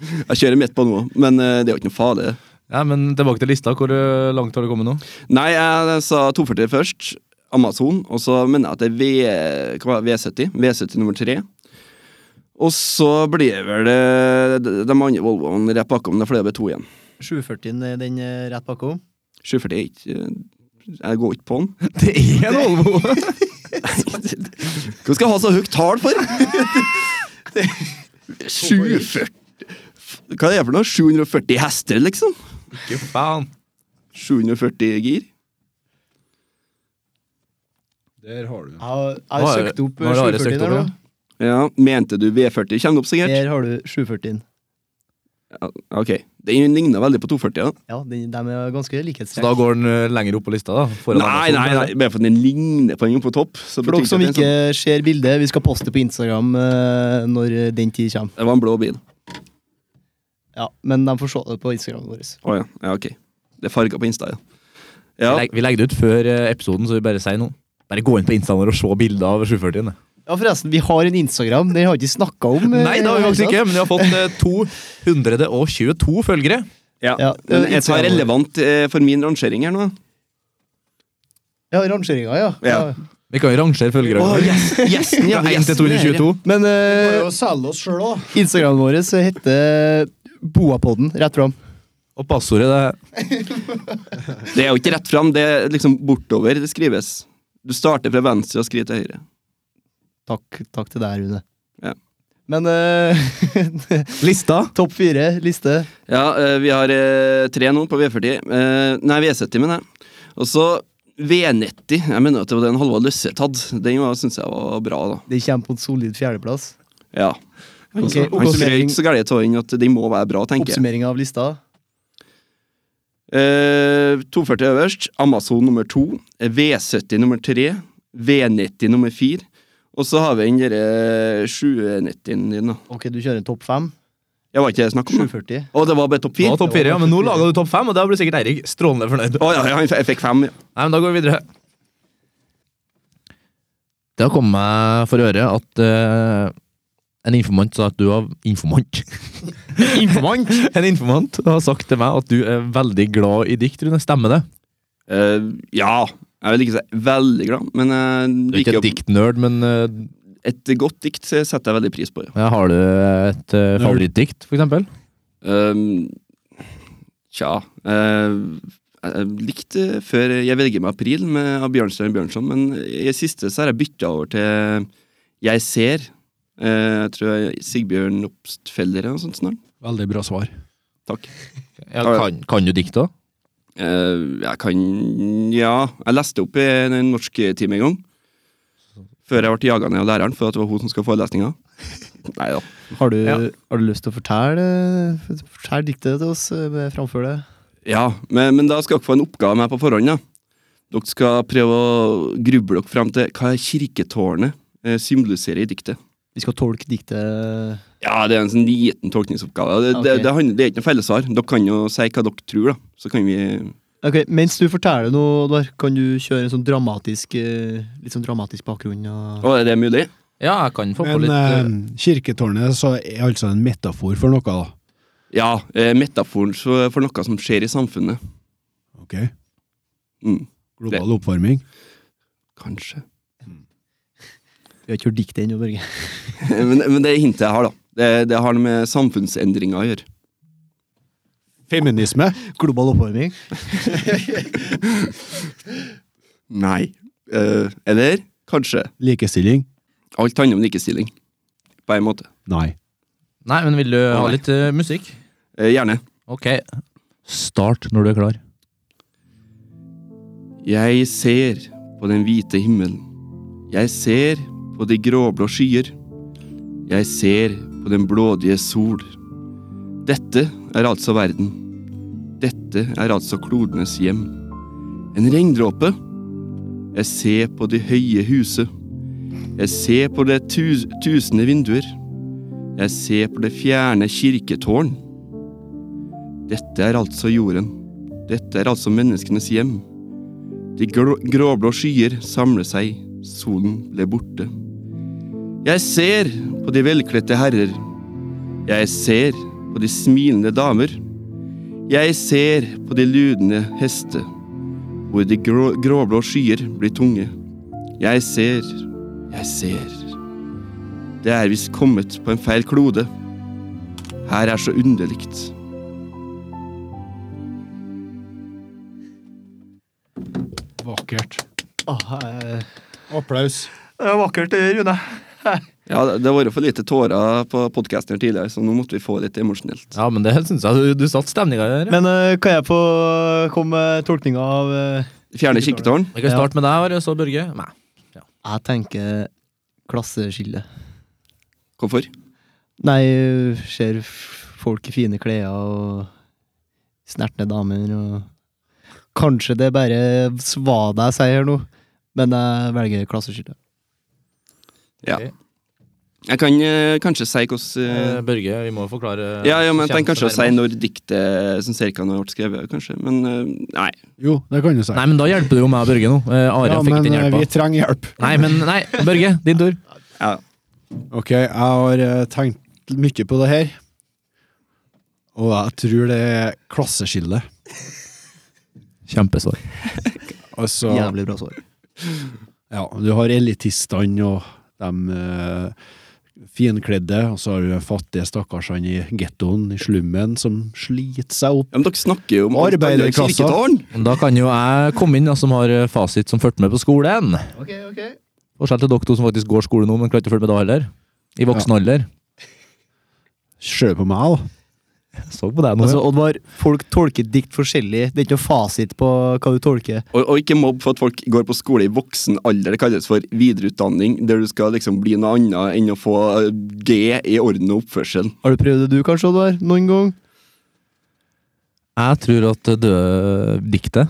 Speaker 7: Jeg kjører midt på nå, men eh, det er jo ikke noe farlig. det.
Speaker 2: Ja, men tilbake til lista. Hvor eh, langt har du kommet nå?
Speaker 7: Nei, jeg sa 240 først. Amazon. Og så mener jeg at det er v, hva, var det, V70. V70 nummer 3. Og så blir det vel eh, de de andre Volvoene rett bakom. Det er fordi det blir to igjen.
Speaker 8: 740-en er den eh, rett bakom.
Speaker 7: 740 er ikke eh, Jeg går ikke på den.
Speaker 2: (laughs) Det er en Volvo!
Speaker 7: Hva skal jeg ha så høyt tall for? 740 Hva er det for noe? 740 hester, liksom?
Speaker 2: (laughs) Ikke faen.
Speaker 7: 740 gir?
Speaker 1: Der har du den.
Speaker 8: Jeg har, jeg
Speaker 2: Nå
Speaker 8: har
Speaker 2: har-
Speaker 8: søkt opp
Speaker 2: nå har jeg søkt
Speaker 8: 740-en her nå.
Speaker 2: opp,
Speaker 7: Ja, Mente du V40 kommer opp, sikkert?
Speaker 8: Der har du 740-en.
Speaker 7: Ja, ok. Den ligner veldig på 240. da
Speaker 8: Ja, de, de er ganske
Speaker 2: Så da
Speaker 8: likhetstrekk.
Speaker 2: går den eh, lenger opp på lista, da? foran
Speaker 7: Nei,
Speaker 2: Amazon,
Speaker 7: nei,
Speaker 2: eller?
Speaker 7: nei, bare for at den ligner på den på topp. så
Speaker 8: For
Speaker 7: betyr
Speaker 8: dere som
Speaker 7: at det er
Speaker 8: ikke
Speaker 7: en
Speaker 2: liksom?
Speaker 8: ser bildet, vi skal poste på Instagram eh, når eh, den tid kommer.
Speaker 7: sånn- Det var en blå bil.
Speaker 8: Ja, men de får se det på Instagramen vår.
Speaker 7: Å ja. ja, ok. Det er farga på Insta, ja.
Speaker 2: Vi
Speaker 7: ja.
Speaker 2: legger- Vi legger det ut før eh, episoden, så vi bare sier noe. Bare gå inn på Instaen vår og se bilder av 740-en.
Speaker 8: Ja, forresten, vi har en Instagram. Den har vi ikke snakka om. eh,
Speaker 2: Nei, det har vi faktisk ikke, men vi har fått eh, 222 følgere.
Speaker 7: ja.
Speaker 8: Ja, eh,
Speaker 7: Men jeg tar
Speaker 8: Instagram.
Speaker 7: relevant eh, for min rangering her nå.
Speaker 8: Ja, rangeringa, ja.
Speaker 7: Ja.
Speaker 2: Vi kan jo rangere følgere.
Speaker 7: Å, yes, yes,
Speaker 2: (laughs)
Speaker 7: ja,
Speaker 2: Fra 1 til
Speaker 7: yes, det er det.
Speaker 2: 222.
Speaker 8: Men
Speaker 1: Vi
Speaker 8: eh,
Speaker 1: må jo selge oss sjøl òg.
Speaker 8: Instagramen vår så heter Boapodden, rett fram.
Speaker 2: Og passordet det er
Speaker 7: Det er jo ikke rett fram, det er liksom bortover det skrives. Du starter fra venstre og skriver til høyre.
Speaker 8: Takk, takk til deg, Rune.
Speaker 7: Ja.
Speaker 8: Men eh, (laughs)
Speaker 2: lista.
Speaker 8: topp fire, liste.
Speaker 7: Ja, eh, vi har eh, tre nå på V40. Eh, nei, V70, mener jeg. Og så V90. Jeg mener at det var den Halvard Løseth hadde. Den syns jeg var bra, da.
Speaker 8: Det kommer på en solid fjerdeplass.
Speaker 7: Ja. Altså, Han
Speaker 8: Ok,
Speaker 7: okay,
Speaker 8: oppsummering.
Speaker 7: ikke så gærent tå inn at de må være bra, tenker jeg.
Speaker 8: Oppsummering av lista.
Speaker 7: Eh, 240 øverst, Amazon nummer to, V70 nummer tre, V90 nummer fire. Og så har vi den derre 790-en din, da.
Speaker 8: Ok, du kjører en topp
Speaker 7: (clears throat)
Speaker 8: fem.
Speaker 7: Jeg var ikke det snakk om. da.
Speaker 8: 740.
Speaker 7: Å, det var bare topp
Speaker 2: Det
Speaker 7: fire?
Speaker 2: var topp fire, ja, men nå laga du topp fem, og da blir sikkert Eirik strålende fornøyd.
Speaker 7: Å ja, ja, jeg f- jeg fikk fem, ja.
Speaker 2: Nei, men da går vi videre. Det har kommet meg for øre at eh, en informant sa at du var Informant? (laughs) informant? (laughs) en informant har sagt til meg at du er veldig glad i dikt, Rune. Stemmer det?
Speaker 7: Eh, ja. Jeg vil ikke si veldig glad, men jeg
Speaker 2: Du er
Speaker 7: liker
Speaker 2: ikke
Speaker 7: jo-
Speaker 2: et diktnerd, men eh,
Speaker 7: et godt dikt setter jeg veldig pris på. Ja.
Speaker 2: ja, har du et eh, favorittdikt, for eksempel?
Speaker 7: Ehm, tja eh, Jeg likte før Jeg velger meg april med av Bjørnstein Bjørnson, men i det siste så har jeg bytta over til Jeg ser. Eh, jeg tror jeg Sigbjørn Obstfelder eller noe sånt snart.
Speaker 1: Veldig bra svar.
Speaker 7: Takk.
Speaker 2: Ja,
Speaker 7: Ja, ja.
Speaker 2: kan, kan du dikt òg?
Speaker 7: Eh, jeg kan Ja, jeg leste opp i en en norsktime en gang. Før jeg ble jaga ned av læreren for at det var hun som skulle ha (laughs) forelesninga. Nei da.
Speaker 8: Har du,
Speaker 2: Ja.
Speaker 8: har du lyst til å fortelle, fortelle diktet til oss? eh, Framfør det.
Speaker 7: Ja, men, men da skal dere få en oppgave med på forhånd. da. Dere skal prøve å gruble dere fram til hva kirketårnet eh, symboliserer i diktet.
Speaker 8: Vi skal tolke diktet
Speaker 7: Ja, Det er en sånn liten tolkningsoppgave. Det, det,
Speaker 8: Ok.
Speaker 7: det, handler- det er ikke noe fellessvar. Dere kan jo si hva dere tror, da. Så kan vi
Speaker 8: Ok, Mens du forteller noe, Oddvar, kan du kjøre en sånn dramatisk eh, Litt sånn dramatisk bakgrunn? Og...
Speaker 7: Å, er det mulig?
Speaker 2: Ja, jeg kan få på
Speaker 1: Men
Speaker 2: litt eh,
Speaker 1: eh, kirketårnet så er altså en metafor for noe, da.
Speaker 7: Ja. Eh, metaforen så- for noe som skjer i samfunnet.
Speaker 1: Ok?
Speaker 7: Mm,
Speaker 1: Global oppvarming.
Speaker 7: kanskje.
Speaker 8: Vi har ikke hørt diktet ennå, Børge.
Speaker 7: (laughs) men, men det er hintet jeg har, da. Det, det har noe med samfunnsendringer å gjøre.
Speaker 1: Feminisme.
Speaker 8: Global oppvarming?
Speaker 7: Nei. Eh, eller kanskje.
Speaker 1: Likestilling.
Speaker 7: Alt handler om likestilling. På en måte.
Speaker 1: Nei.
Speaker 2: Nei, men vil du ha
Speaker 7: nei.
Speaker 2: litt eh, musikk?
Speaker 7: Eh, gjerne.
Speaker 2: Ok. Start når du er klar.
Speaker 7: Jeg ser på den hvite himmelen. Jeg ser på de gråblå skyer. Jeg ser på den blådige sol. Dette er altså verden. Dette er altså klodenes hjem. En regndråpe. Jeg ser på de høye huset. Jeg ser på det tus tusende vinduer. Jeg ser på det fjerne kirketårn. Dette er altså jorden. Dette er altså menneskenes hjem. De grå gråblå skyer samler seg. Solen ble borte. Jeg ser på de velkledte herrer. Jeg ser på de smilende damer. Jeg ser på de ludende hester, hvor de grå, gråblå skyer blir tunge. Jeg ser, jeg ser. Det er visst kommet på en feil klode. Her er så underligt.
Speaker 1: Vakkert.
Speaker 9: Det
Speaker 1: Applaus.
Speaker 9: var vakkert, Rune.
Speaker 7: Ja, det det har vært for lite tårer på podkasten her tidligere, så nå måtte vi få litt emosjonelt.
Speaker 2: Ja, men det syns jeg. Du, du satte stemninga der. ja.
Speaker 9: Men eh, kan jeg få komme med tolkninga av eh,
Speaker 7: Fjerne kikketårn.
Speaker 2: Vi kan starte med deg, Are, så Børge. Nei.
Speaker 9: Jeg tenker klasseskille.
Speaker 7: Hvorfor?
Speaker 9: Nei, ser f- folk i fine klær og snertne damer og Kanskje det er bare var det jeg sier her nå, men jeg velger klasseskille.
Speaker 7: Ja.
Speaker 2: Ok.
Speaker 7: Jeg kan eh, kanskje si hvordan eh,
Speaker 2: Eh, Børge, vi må forklare
Speaker 7: Ja, ja, men jeg tenker
Speaker 2: kjenner
Speaker 7: kanskje å
Speaker 2: seg
Speaker 7: si
Speaker 2: nærmere.
Speaker 7: når diktet som cirka når det ble skrevet, kanskje. Men eh, nei.
Speaker 1: Jo, det kan du si.
Speaker 2: Nei, men da hjelper det jo meg og Børge nå. Eh, Are
Speaker 1: ja,
Speaker 2: fikk
Speaker 1: men
Speaker 2: den
Speaker 1: eh,
Speaker 2: hjelpa.
Speaker 1: vi trenger hjelp.
Speaker 2: Nei, men nei, Børge, din tur.
Speaker 7: Ja.
Speaker 1: Ok, jeg har eh, tenkt mye på det her. Og jeg tror det er klasseskille.
Speaker 2: Kjempesvar.
Speaker 1: Altså,
Speaker 9: Jævlig bra svar.
Speaker 1: ja, du har elitistene og de eh, finkledde, og så har du de fattige stakkarsene i gettoen, i slummen, som sliter seg opp.
Speaker 7: Ja, men dere snakker jo om
Speaker 1: Arbeiderklassa.
Speaker 7: kirketårn!
Speaker 2: Da kan jo jeg komme inn, da, som har eh, fasit som fulgte med på skolen.
Speaker 9: Ok, ok.
Speaker 2: Forskjell til dere to som faktisk går skole nå, men klarte ikke å følge med da heller. I voksen alder.
Speaker 1: Ser du på meg, da?
Speaker 2: Jeg så på deg nå.
Speaker 9: Altså,
Speaker 2: ja.
Speaker 9: Oddvar, folk tolker dikt forskjellig. Det er ikke noe fasit på hva du tolker.
Speaker 7: Og, og ikke mobb for at folk går på skole i voksen alder. Det kalles for videreutdanning, der du skal liksom bli noe annet enn å få eh, G i orden og oppførsel.
Speaker 9: Har du prøvd det du kanskje, Oddvar? Noen gang?
Speaker 2: Jeg tror at det døde diktet,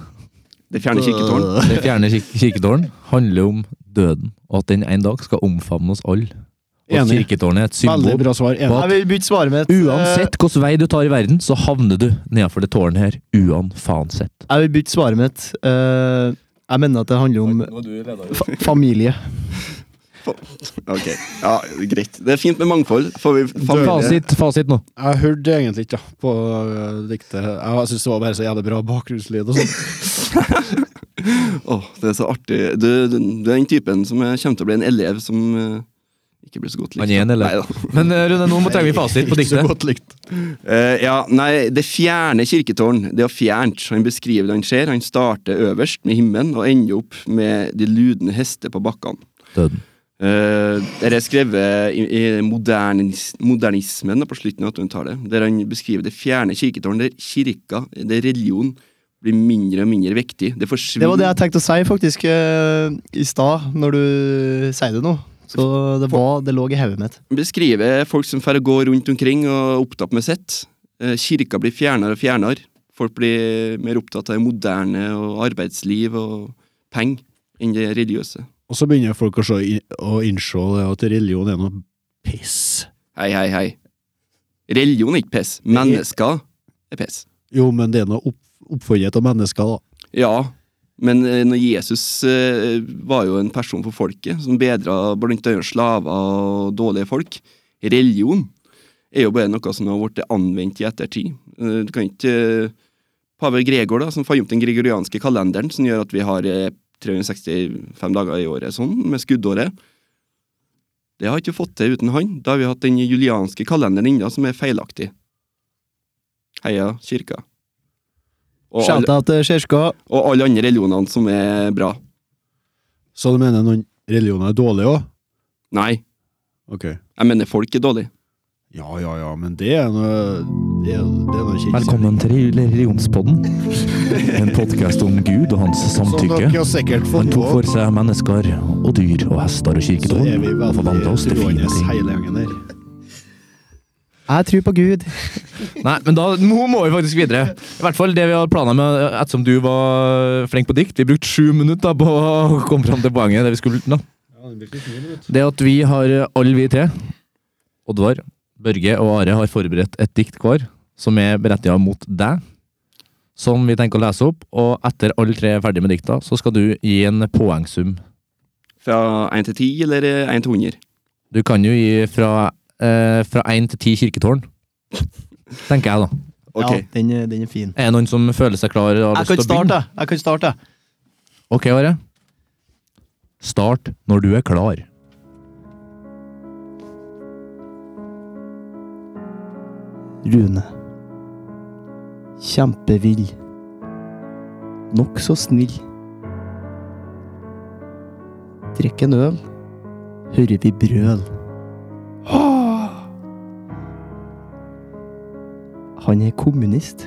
Speaker 7: Det fjerner kirketårn.
Speaker 2: Det fjerne kik kirketården, handler om døden. Og at den en dag skal omfavne oss alle. Og at
Speaker 1: Enig.
Speaker 2: kirketårnet er et
Speaker 1: Veldig
Speaker 2: symbol.
Speaker 1: bra svar. Enig.
Speaker 2: Hva?
Speaker 9: Jeg vil bytte svaret mitt.
Speaker 2: Uansett hvilken vei du tar i verden, så havner du nedenfor det tårnet her. Uanfansett.
Speaker 9: Eh, Jeg vil bytte svaret mitt. Eh, Jeg mener at det handler om fa familie.
Speaker 7: Ok, ja, Greit. Det er fint med mangfold. Får vi familie.
Speaker 2: Fasit, fasit nå.
Speaker 1: Jeg hørte egentlig ikke da, på eh, diktet. Jeg syns det var bare så jævlig bra bakgrunnslyd og sånn.
Speaker 7: Åh, det er så artig. Du, du, du er den typen som eh, kommer til å bli en elev som eh, ikke blir så godt likt.
Speaker 2: Han er en elev.
Speaker 7: Neida.
Speaker 2: Men eh, Rune, nå må trenger vi fasit på
Speaker 1: Ikke så
Speaker 2: diktet.
Speaker 1: godt likt.
Speaker 7: Eh, ja, nei, det fjerne kirketårn, det er fjernt. Han beskriver det han ser. Han starter øverst med himmelen og ender opp med de ludende hester på bakkene.
Speaker 2: Døden.
Speaker 7: Eh, Dette er skrevet i, i modernis, modernismen da, på slutten av 1800-tallet, der han beskriver det fjerne kirketårn, der kirka, der religion, blir mindre og mindre viktig. Det
Speaker 9: Det var
Speaker 7: forsvinner.
Speaker 9: det jeg tenkte å si faktisk eh, i stad, når du sier det nå. Så det var, det lå i hodet mitt.
Speaker 7: Han beskriver folk som får gå rundt omkring og opptatt med sitt. Eh, Kirka blir fjernere og fjernere. Folk blir mer opptatt av det moderne og arbeidsliv og penger enn det religiøse.
Speaker 1: Og så begynner folk å, se, å innse det at religion er noe piss.
Speaker 7: Hei, hei, hei. Religion er ikke piss. Mennesker er piss.
Speaker 1: Jo, men det er noe opp, oppfunnet av mennesker, da.
Speaker 7: Ja, men eh, når Jesus eh, var jo en person for folket, som bedra blant annet slaver og dårlige folk. Religion er jo bare noe som har blitt anvendt i ettertid. Eh, Du kan ikke eh, Pave Gregor, da, som fant opp den gregorianske kalenderen, som gjør at vi har eh, 365 dager i året sånn, med skuddåret. Det har ikke vi fått til uten han. Da har vi hatt den julianske kalenderen inne, som er feilaktig. Heia kirka. Og alle-
Speaker 9: Shout-out til kirka.
Speaker 7: og alle andre religionene som er bra.
Speaker 1: Så du mener noen religioner er dårlige òg?
Speaker 7: Nei,
Speaker 1: Ok.
Speaker 7: jeg mener folk er dårlige.
Speaker 1: Ja, ja, ja, men det er noe Det er, det er noe kirke.
Speaker 2: Velkommen til religionspodden. En podkast om Gud og hans
Speaker 1: Som
Speaker 2: samtykke.
Speaker 1: dere har sikkert
Speaker 2: Han
Speaker 1: fått
Speaker 2: tok
Speaker 1: på,
Speaker 2: for seg mennesker og dyr og hester og
Speaker 1: så er
Speaker 2: kirketårn
Speaker 1: vi
Speaker 2: og forvandla oss
Speaker 1: veldig
Speaker 2: til fine
Speaker 1: troende
Speaker 2: ting.
Speaker 1: hele gjengen her.
Speaker 9: Jeg tror på Gud.
Speaker 2: Nei, men da nå må vi faktisk videre. I hvert fall det vi hadde planer med, ettersom du var flink på dikt. Vi brukte sju minutter på å komme fram til poenget. Det vi skulle nå. Det at vi har, eh, alle vi tre, Oddvar, Børge og Are, har forberedt et dikt hver som er berettiget mot deg. Som vi tenker å lese opp, og etter alle tre er ferdig med dikta, så skal du gi en poengsum.
Speaker 7: Fra 1 til 10 eller 1 til 100?
Speaker 2: Du kan jo gi fra eh, fra 1 til 10 kirketårn. Tenker jeg, da.
Speaker 7: Ok.
Speaker 9: Ja, den, er- den er fin.
Speaker 2: Er det noen som føler seg klar? og har
Speaker 9: Jeg kan
Speaker 2: lyst til å begynne?
Speaker 9: starte. jeg kan starte.
Speaker 2: Ok, Are. Start når du er klar.
Speaker 9: Rune. Kjempevill. Nokså snill. Drikker en øl, hører vi brøl. (gasps) Han er kommunist.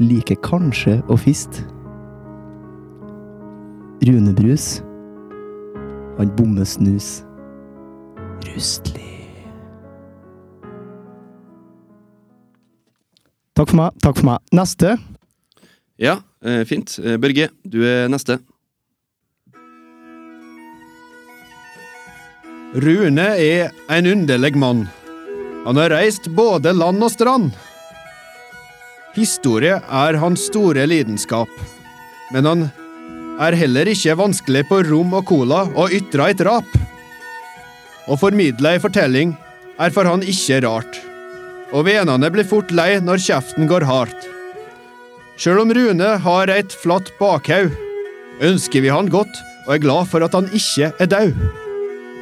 Speaker 9: Liker kanskje å fiste. Runebrus. Han bommer snus. Rustlig.
Speaker 3: Takk for meg. Takk for meg. Neste.
Speaker 7: Ja, eh, fint. Eh, Børge, du er neste.
Speaker 4: Rune er en underlig mann. Han har reist både land og strand. Historie er hans store lidenskap, men han er heller ikke vanskelig på rom og cola og ytrer et rap. Å formidle ei fortelling er for han ikke rart, og venene blir fort lei når kjeften går hardt. Sjøl om Rune har et flatt bakhaug, ønsker vi han godt og er glad for at han ikke er daud.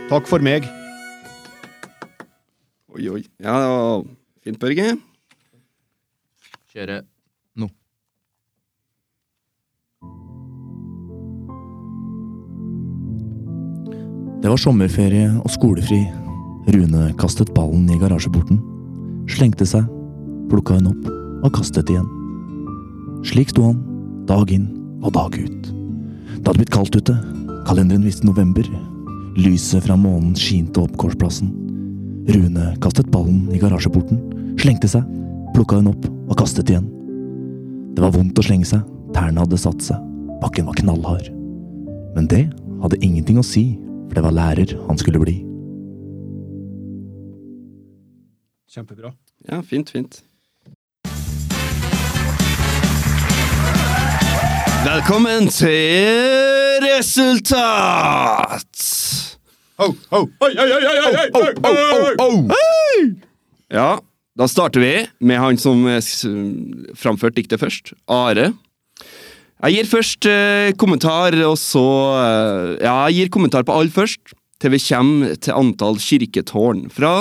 Speaker 4: Takk for meg.
Speaker 7: Oi, oi. Ja, det var fint, Børge.
Speaker 2: Kjøre. Det var sommerferie og skolefri. Rune kastet ballen i garasjeporten. Slengte seg, plukka den opp og kastet igjen. Slik sto han, dag inn og dag ut. Det hadde blitt kaldt ute. Kalenderen viste november. Lyset fra månen skinte opp gårdsplassen. Rune kastet ballen i garasjeporten, slengte seg, plukka den opp og kastet igjen. Det var vondt å slenge seg, tærne hadde satt seg, bakken var knallhard. Men det hadde ingenting å si, for det var lærer han skulle bli.
Speaker 4: Kjempebra.
Speaker 7: Ja, fint, fint. Velkommen til resultat!
Speaker 4: Ho, ho, oi, oi, oi, oi, oi, oi, oi, oi.
Speaker 7: Ja, da starter vi med han som eh, s- framførte diktet først. Are. Jeg gir først eh, kommentar, og så eh, Ja, jeg gir kommentar på alle først, til vi kommer til antall kirketårn. Fra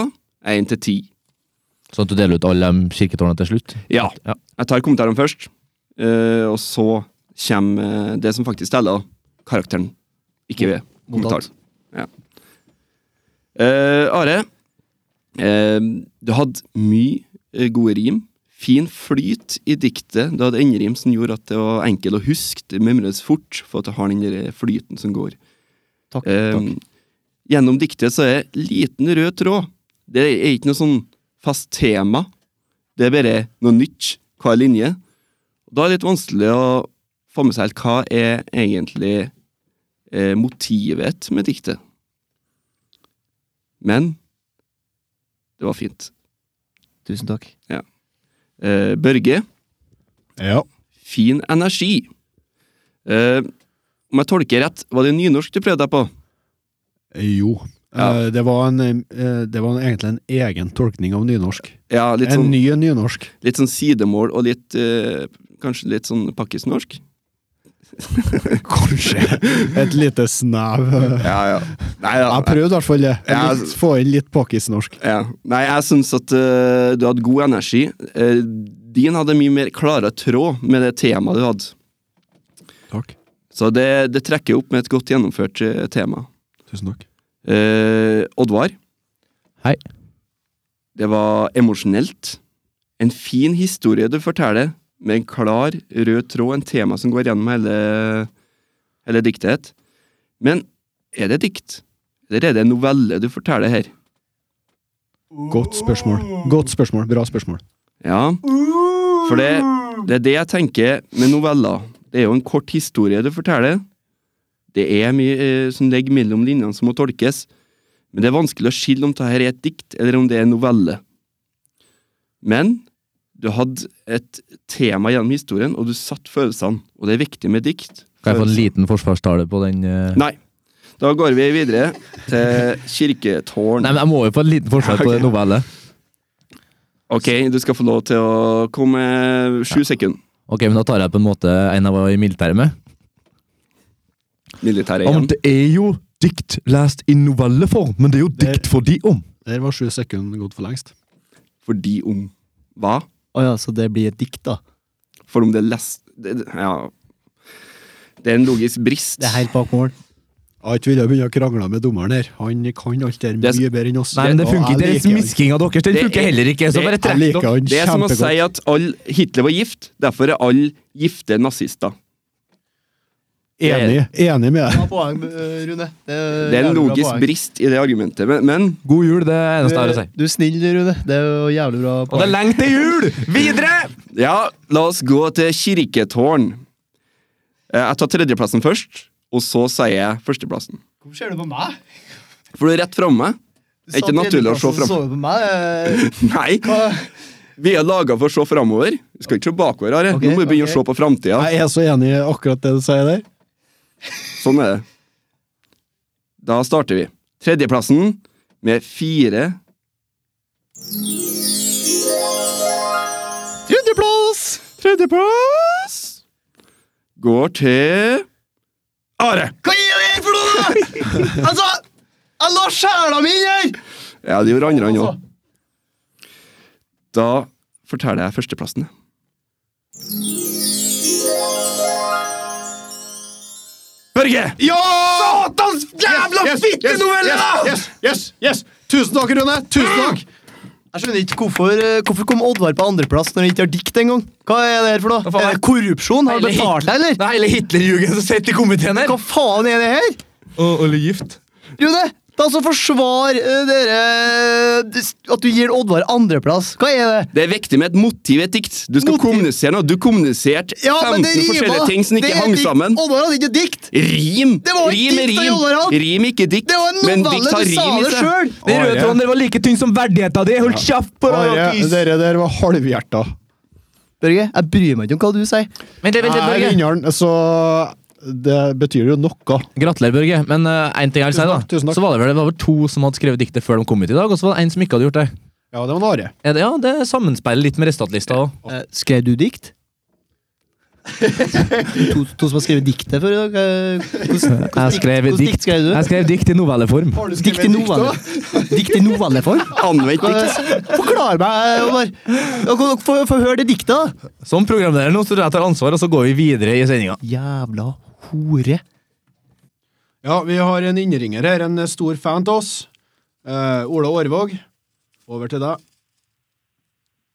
Speaker 7: 1 til 10.
Speaker 2: Så at du deler ut alle de kirketårnene til slutt?
Speaker 7: Ja.
Speaker 2: Ja.
Speaker 7: Jeg tar kommentarene først, eh, og så kommer eh, det som faktisk teller, karakteren. Ikke ved kommentaren. Ja. Eh, Are, eh, du hadde mye eh, gode rim. Fin flyt i diktet. Du hadde enderim som gjorde at det var enkel å huske. Det memres fort, for at du har den der eh, flyten som går.
Speaker 9: Takk,
Speaker 7: Eh, gjennom diktet så er liten rød tråd. Det er ikke noe sånn fast tema. Det er bare noe nytt hver linje. Da er det litt vanskelig å få med seg helt hva er egentlig eh, motivet med diktet. Men det var fint.
Speaker 9: Tusen takk.
Speaker 7: Eh, Børge,
Speaker 4: Ja.
Speaker 7: fin energi. Eh, om jeg tolker rett, var det nynorsk du prøvde deg på?
Speaker 1: Jo.
Speaker 7: Ja.
Speaker 1: Eh, Det, var en, eh, det var egentlig en egen tolkning av nynorsk.
Speaker 7: Ja, litt
Speaker 1: En
Speaker 7: sånn,
Speaker 1: ny
Speaker 4: (laughs)
Speaker 1: nynorsk.
Speaker 7: litt sånn sidemål og litt eh, Kanskje litt sånn pakkisnorsk?
Speaker 1: Kanskje. Et lite snev.
Speaker 4: (laughs)
Speaker 1: eh.
Speaker 7: Ja, ja. Nei, altså,
Speaker 1: Jeg prøvde i hvert fall det.
Speaker 7: Ja,
Speaker 1: Litt, få inn litt pakkisnorsk.
Speaker 7: Ja. Nei, jeg syns at eh, du hadde god energi. Eh, din hadde mye mer klare tråd med det temaet du hadde.
Speaker 1: Takk.
Speaker 7: Så det, det trekker opp med et godt gjennomført eh, tema.
Speaker 1: Tusen takk.
Speaker 7: Eh, Oddvar.
Speaker 2: Hei.
Speaker 7: Det var emosjonelt. En fin historie du forteller, med en klar rød tråd, en tema som går gjennom hele, hele diktet ditt. Men er det dikt? Eller er det en novelle du forteller her?
Speaker 1: Godt spørsmål. Godt spørsmål. Bra spørsmål.
Speaker 7: Ja. For det, det er det jeg tenker med noveller. Det er jo en kort historie du forteller. Det er mye eh, som ligger mellom linjene som må tolkes. Men det er vanskelig å skille om dette her er et dikt eller om det er en novelle. Men du hadde et tema gjennom historien, og du satte følelsene. Og det er viktig med dikt.
Speaker 2: Kan jeg få en
Speaker 7: Følelser.
Speaker 2: liten forsvarstale på den? eh?
Speaker 7: Nei. Da går vi videre til kirketårn.
Speaker 2: Nei, men jeg må jo få en liten forsvar på (laughs)
Speaker 7: Ja, ok.
Speaker 2: den novelle.
Speaker 7: Ok, du skal få lov til å komme med sju sekunder.
Speaker 2: Ok, men da tar jeg på en måte en jeg var i militæret med.
Speaker 7: Militæret
Speaker 2: Ja,
Speaker 7: igjen.
Speaker 2: men det er jo dikt lest i novelleform, men det er jo dikt for de om.
Speaker 1: Der var sju sekunder gått for lengst.
Speaker 7: Fordi om hva?
Speaker 9: Å ja, så det blir et dikt, da.
Speaker 7: For om det er lest det, det- Ja. Det er en logisk brist.
Speaker 9: Det er helt bak mål.
Speaker 1: Jeg har ikke villet begynne å krangle med dommeren her. Han kan alt der
Speaker 7: Det er s-
Speaker 1: mye bedre enn oss.
Speaker 2: Nei, men det
Speaker 1: Og
Speaker 2: funker
Speaker 1: jeg
Speaker 2: ikke. Deres
Speaker 1: liker han.
Speaker 2: misking av deres, den
Speaker 7: Det
Speaker 2: funker
Speaker 7: er-
Speaker 2: heller ikke. Så
Speaker 7: det-
Speaker 2: bare
Speaker 1: Jeg
Speaker 2: trekk
Speaker 1: liker
Speaker 2: dere.
Speaker 1: han
Speaker 7: Det er som å
Speaker 1: kjempegodt.
Speaker 7: si at all Hitler var gift, derfor er alle gifte nazister.
Speaker 1: Enig, enig med deg.
Speaker 9: Poeng, eh, Rune. Det er,
Speaker 7: Det er en logisk brist i det argumentet, men, men
Speaker 2: God jul, det er det eneste jeg har å si.
Speaker 9: Du er snill, Rune. Det er jo jævlig bra
Speaker 2: Og det er
Speaker 9: poeng.
Speaker 2: lengt til jul! Videre!
Speaker 7: Ja, la oss gå til kirketårn. Eh, Jeg tar tredjeplassen først, og så sier jeg førsteplassen.
Speaker 9: Hvorfor ser du på meg?
Speaker 7: For du er rett framme. (laughs) Er ikke naturlig å se fram.
Speaker 9: på meg. (laughs)
Speaker 7: Nei! Vi er laga for å se framover. Vi skal ikke se bakover. Are.
Speaker 9: Ok,
Speaker 7: Nå må vi begynne
Speaker 9: ok.
Speaker 7: å se på framtida.
Speaker 1: Jeg er så enig i akkurat det du sier der.
Speaker 7: Sånn er det. Da starter vi. Tredjeplassen med fire Tredjeplass! Tredjeplass går til Are.
Speaker 9: Hva er det her for noe, da?!
Speaker 7: (laughs)
Speaker 9: Altså, jeg la sjela mi inn Altså. her!
Speaker 7: Ja, det gjorde andre han òg. Da forteller jeg førsteplassen. Børge!
Speaker 4: Ja!
Speaker 7: Satans jævla
Speaker 4: Yes, yes,
Speaker 7: fittenovelle,
Speaker 4: yes,
Speaker 7: da!
Speaker 4: Yes, yes, yes! Tusen takk, Rune! Tusen takk!
Speaker 9: Jeg skjønner ikke hvorfor, eh, hvorfor kom Oddvar på andreplass når han ikke har dikt engang? Hva er det her for noe?
Speaker 2: faen
Speaker 9: Er
Speaker 2: er-
Speaker 9: det korrupsjon? Har du
Speaker 2: Hele Hit-
Speaker 9: betalt deg,
Speaker 2: Det
Speaker 9: eller?
Speaker 2: er hele Hitlerjugend som sitter i komiteen her.
Speaker 9: Hva faen er det her?
Speaker 2: Og alle gift.
Speaker 9: Rune, da så forsvar eh, dere eh, at du gir Oddvar andreplass. Hva er det?
Speaker 7: Det er viktig med et motiv i et dikt. Du skal
Speaker 9: Motiv.
Speaker 7: kommunisere noe. Du kommuniserte
Speaker 9: Ja, men
Speaker 7: 15
Speaker 9: det rimer.
Speaker 7: forskjellige ting som
Speaker 9: Det
Speaker 7: ikke
Speaker 9: er
Speaker 7: hang
Speaker 9: dikt.
Speaker 7: sammen.
Speaker 9: Oddvar hadde ikke dikt.
Speaker 7: Rim!
Speaker 9: Det var et
Speaker 7: Rim er
Speaker 9: dikt, da,
Speaker 7: rim!
Speaker 9: Jolarald.
Speaker 7: Rim, ikke dikt.
Speaker 9: Det var en
Speaker 7: men
Speaker 9: novelle,
Speaker 7: dikt har
Speaker 9: du sa
Speaker 7: rim i
Speaker 9: det
Speaker 7: seg.
Speaker 9: sjøl!
Speaker 2: Den røde
Speaker 1: Are.
Speaker 2: tråden der var like tynn som verdigheta di. Hold kjeft på
Speaker 1: Are,
Speaker 2: deg!
Speaker 1: Dere der var halvhjerta.
Speaker 9: Børge, jeg bryr meg ikke om hva du sier.
Speaker 2: Vent litt, vent litt,
Speaker 1: Jeg er
Speaker 2: Børge.
Speaker 1: vinneren, så det betyr jo noe.
Speaker 2: Gratulerer, Børge. Men én ting jeg vil si,
Speaker 1: Tusen
Speaker 2: da.
Speaker 1: takk, tusen takk.
Speaker 2: Så var det vel det var vel to som hadde skrevet diktet før de kom ut i dag, og så var det en som ikke hadde gjort det.
Speaker 1: Ja, det var en Are.
Speaker 2: Er det, ja, det sammenspeiler litt med restatlista òg.
Speaker 9: Eh, skrev du dikt? to, to som har skrevet diktet før i dag? eh, hvordan- hvordan
Speaker 2: Jeg skrev
Speaker 9: hvordan
Speaker 2: dikt.
Speaker 9: dikt skrev du?
Speaker 2: Jeg skrev dikt i novelleform.
Speaker 9: Dikt i novelle. Dikt i novelleform?
Speaker 7: Anvendt dikt.
Speaker 9: Forklar meg, Omar. Dere får få høre det diktet, da.
Speaker 2: Som programleder nå, så tror jeg jeg tar ansvar, og så går vi videre i sendinga.
Speaker 9: Jævla hore.
Speaker 4: Ja, vi har en innringer her, en stor fan til oss. Eh, Ola Årvåg, over til deg.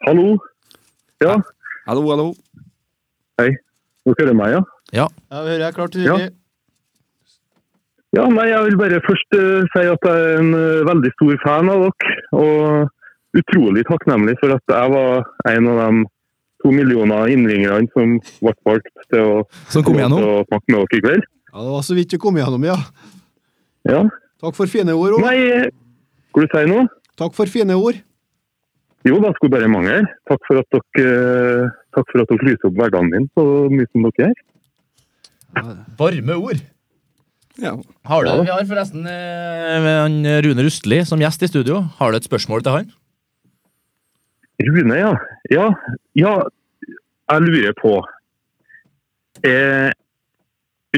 Speaker 6: Hallo? Ja,
Speaker 7: Hallo, hallo.
Speaker 6: nå hører du meg, ja?
Speaker 4: Ja, vi hører jeg klart og
Speaker 6: Ja.
Speaker 4: tydelig.
Speaker 6: Ja, nei, jeg vil bare først eh, si at jeg er en eh, veldig stor fan av dere, og utrolig takknemlig for at jeg var en av de to millioner innringerne som ble valgt til å,
Speaker 2: Som kom
Speaker 6: til
Speaker 2: igjennom.
Speaker 6: å snakke med dere i kveld.
Speaker 1: Ja, det var så vidt du kom gjennom, ja.
Speaker 6: Ja.
Speaker 1: Takk for fine ord, Ola.
Speaker 6: Nei, eh, skal du si noe?
Speaker 1: Takk for fine ord.
Speaker 6: Jo, da skulle bare mangle. Takk for at dere, eh, takk for at dere lyser opp hverdagen min så mye som dere gjør.
Speaker 2: Varme ord.
Speaker 7: Ja.
Speaker 2: Har du, vi har forresten eh, han Rune Rustli som gjest i studio. Har du et spørsmål til han?
Speaker 6: Rune, ja. ja. Ja, jeg lurer på eh,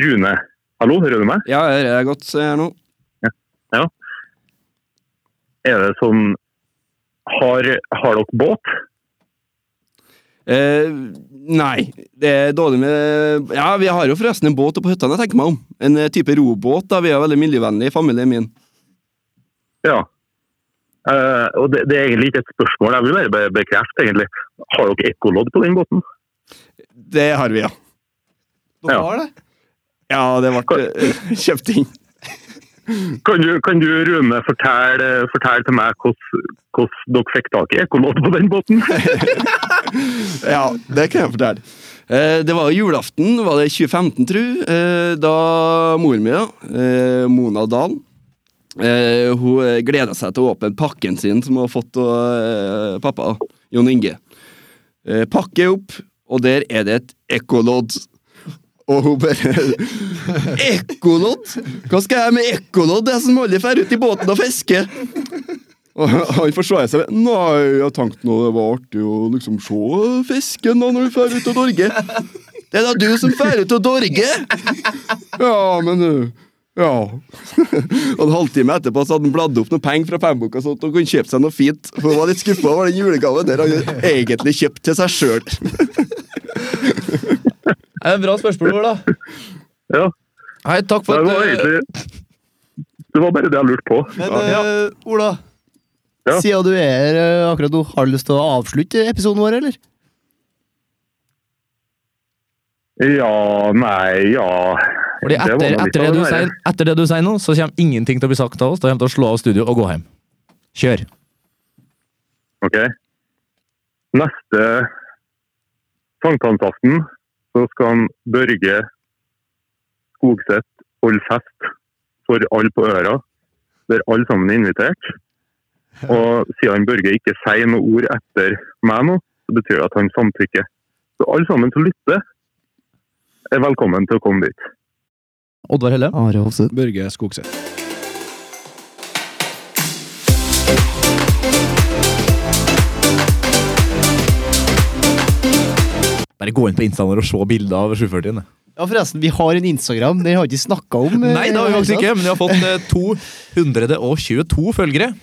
Speaker 6: Rune. Hallo, hører du meg?
Speaker 7: ja, jeg hører deg godt her nå.
Speaker 6: Er det sånn Har, har dere båt?
Speaker 7: Eh, nei, det er dårlig med Ja, vi har jo forresten en båt oppe på hytta, jeg tenker meg om. En eh, type robåt. da, Vi er veldig miljøvennlig i familien min.
Speaker 6: Ja. Eh, og det, det er egentlig ikke et spørsmål, jeg vil bare be- bekrefte, egentlig. Har dere ekkolodd på den båten?
Speaker 7: Det har vi, ja.
Speaker 6: Ja.
Speaker 9: Hva var det?
Speaker 7: Ja, det ble eh, kjøpt inn.
Speaker 6: Kan du, kan du Rune, fortelle, fortelle til meg hvordan hvordan dere fikk tak i ekkolodd på den båten?
Speaker 7: (laughs) Ja, det kan jeg fortelle. Eh, det var julaften, var det 2015, tru. Eh, da mor mi, da, eh, Mona Dahl, eh, hun eh, gleda seg til å åpne pakken sin som hun har fått av eh, pappa, Jon Inge. Eh, pakke opp, og der er det et ekkolodd. Og hun bare (laughs) Ekkolodd? Hva skal jeg med ekkolodd, jeg som aldri drar ut i båten og fisker? Og han forsvarer seg med Nei, jeg tenkte nå det var artig å liksom se fisken da når vi drar ut av Norge. Det er da du som drar ut av Norge! Ja, men ø, Ja. Og en halvtime etterpå så hadde han bladd opp noen penger fra pengeboka så han kunne kjøpe seg noe fint. For han var litt skuffa over den julegaven der han egentlig kjøpte til seg sjøl.
Speaker 2: Eh, Bra spørsmål, Ola.
Speaker 6: Ja,
Speaker 2: Hei, takk
Speaker 6: det
Speaker 2: for
Speaker 6: var
Speaker 2: at du
Speaker 6: egentlig Det var bare det jeg lurte på.
Speaker 9: eh, Men eh, Ola,
Speaker 6: Ja.
Speaker 9: siden du er her eh, akkurat nå, har du lyst til å avslutte episoden vår, eller?
Speaker 6: Ja, nei, ja
Speaker 2: Fordi
Speaker 6: var
Speaker 2: etter,
Speaker 6: da litt
Speaker 2: etter,
Speaker 6: av
Speaker 2: det du
Speaker 6: en ære.
Speaker 2: sier, etter det du sier nå, så kommer ingenting til å bli sagt av oss. Da kommer vi til å slå av studio og gå hjem. Kjør.
Speaker 6: Ok. Neste sankthansaften så skal han Børge Skogseth holde fest for alle på øra, der alle sammen er invitert. Og siden Børge ikke sier noe ord etter meg nå, så betyr det at han samtykker. Så alle sammen som lytter, er velkommen til å komme dit.
Speaker 2: Oddvar Helle.
Speaker 3: Are Hofseth.
Speaker 1: Børge Skogseth.
Speaker 2: Bare gå inn på Instaen og se bilder av 740-en. det.
Speaker 9: Ja, forresten, vi har en Instagram. Den har vi ikke snakka om. eh,
Speaker 2: Nei, det har vi faktisk
Speaker 9: i det hele
Speaker 2: ikke, men vi har fått eh, 222 følgere.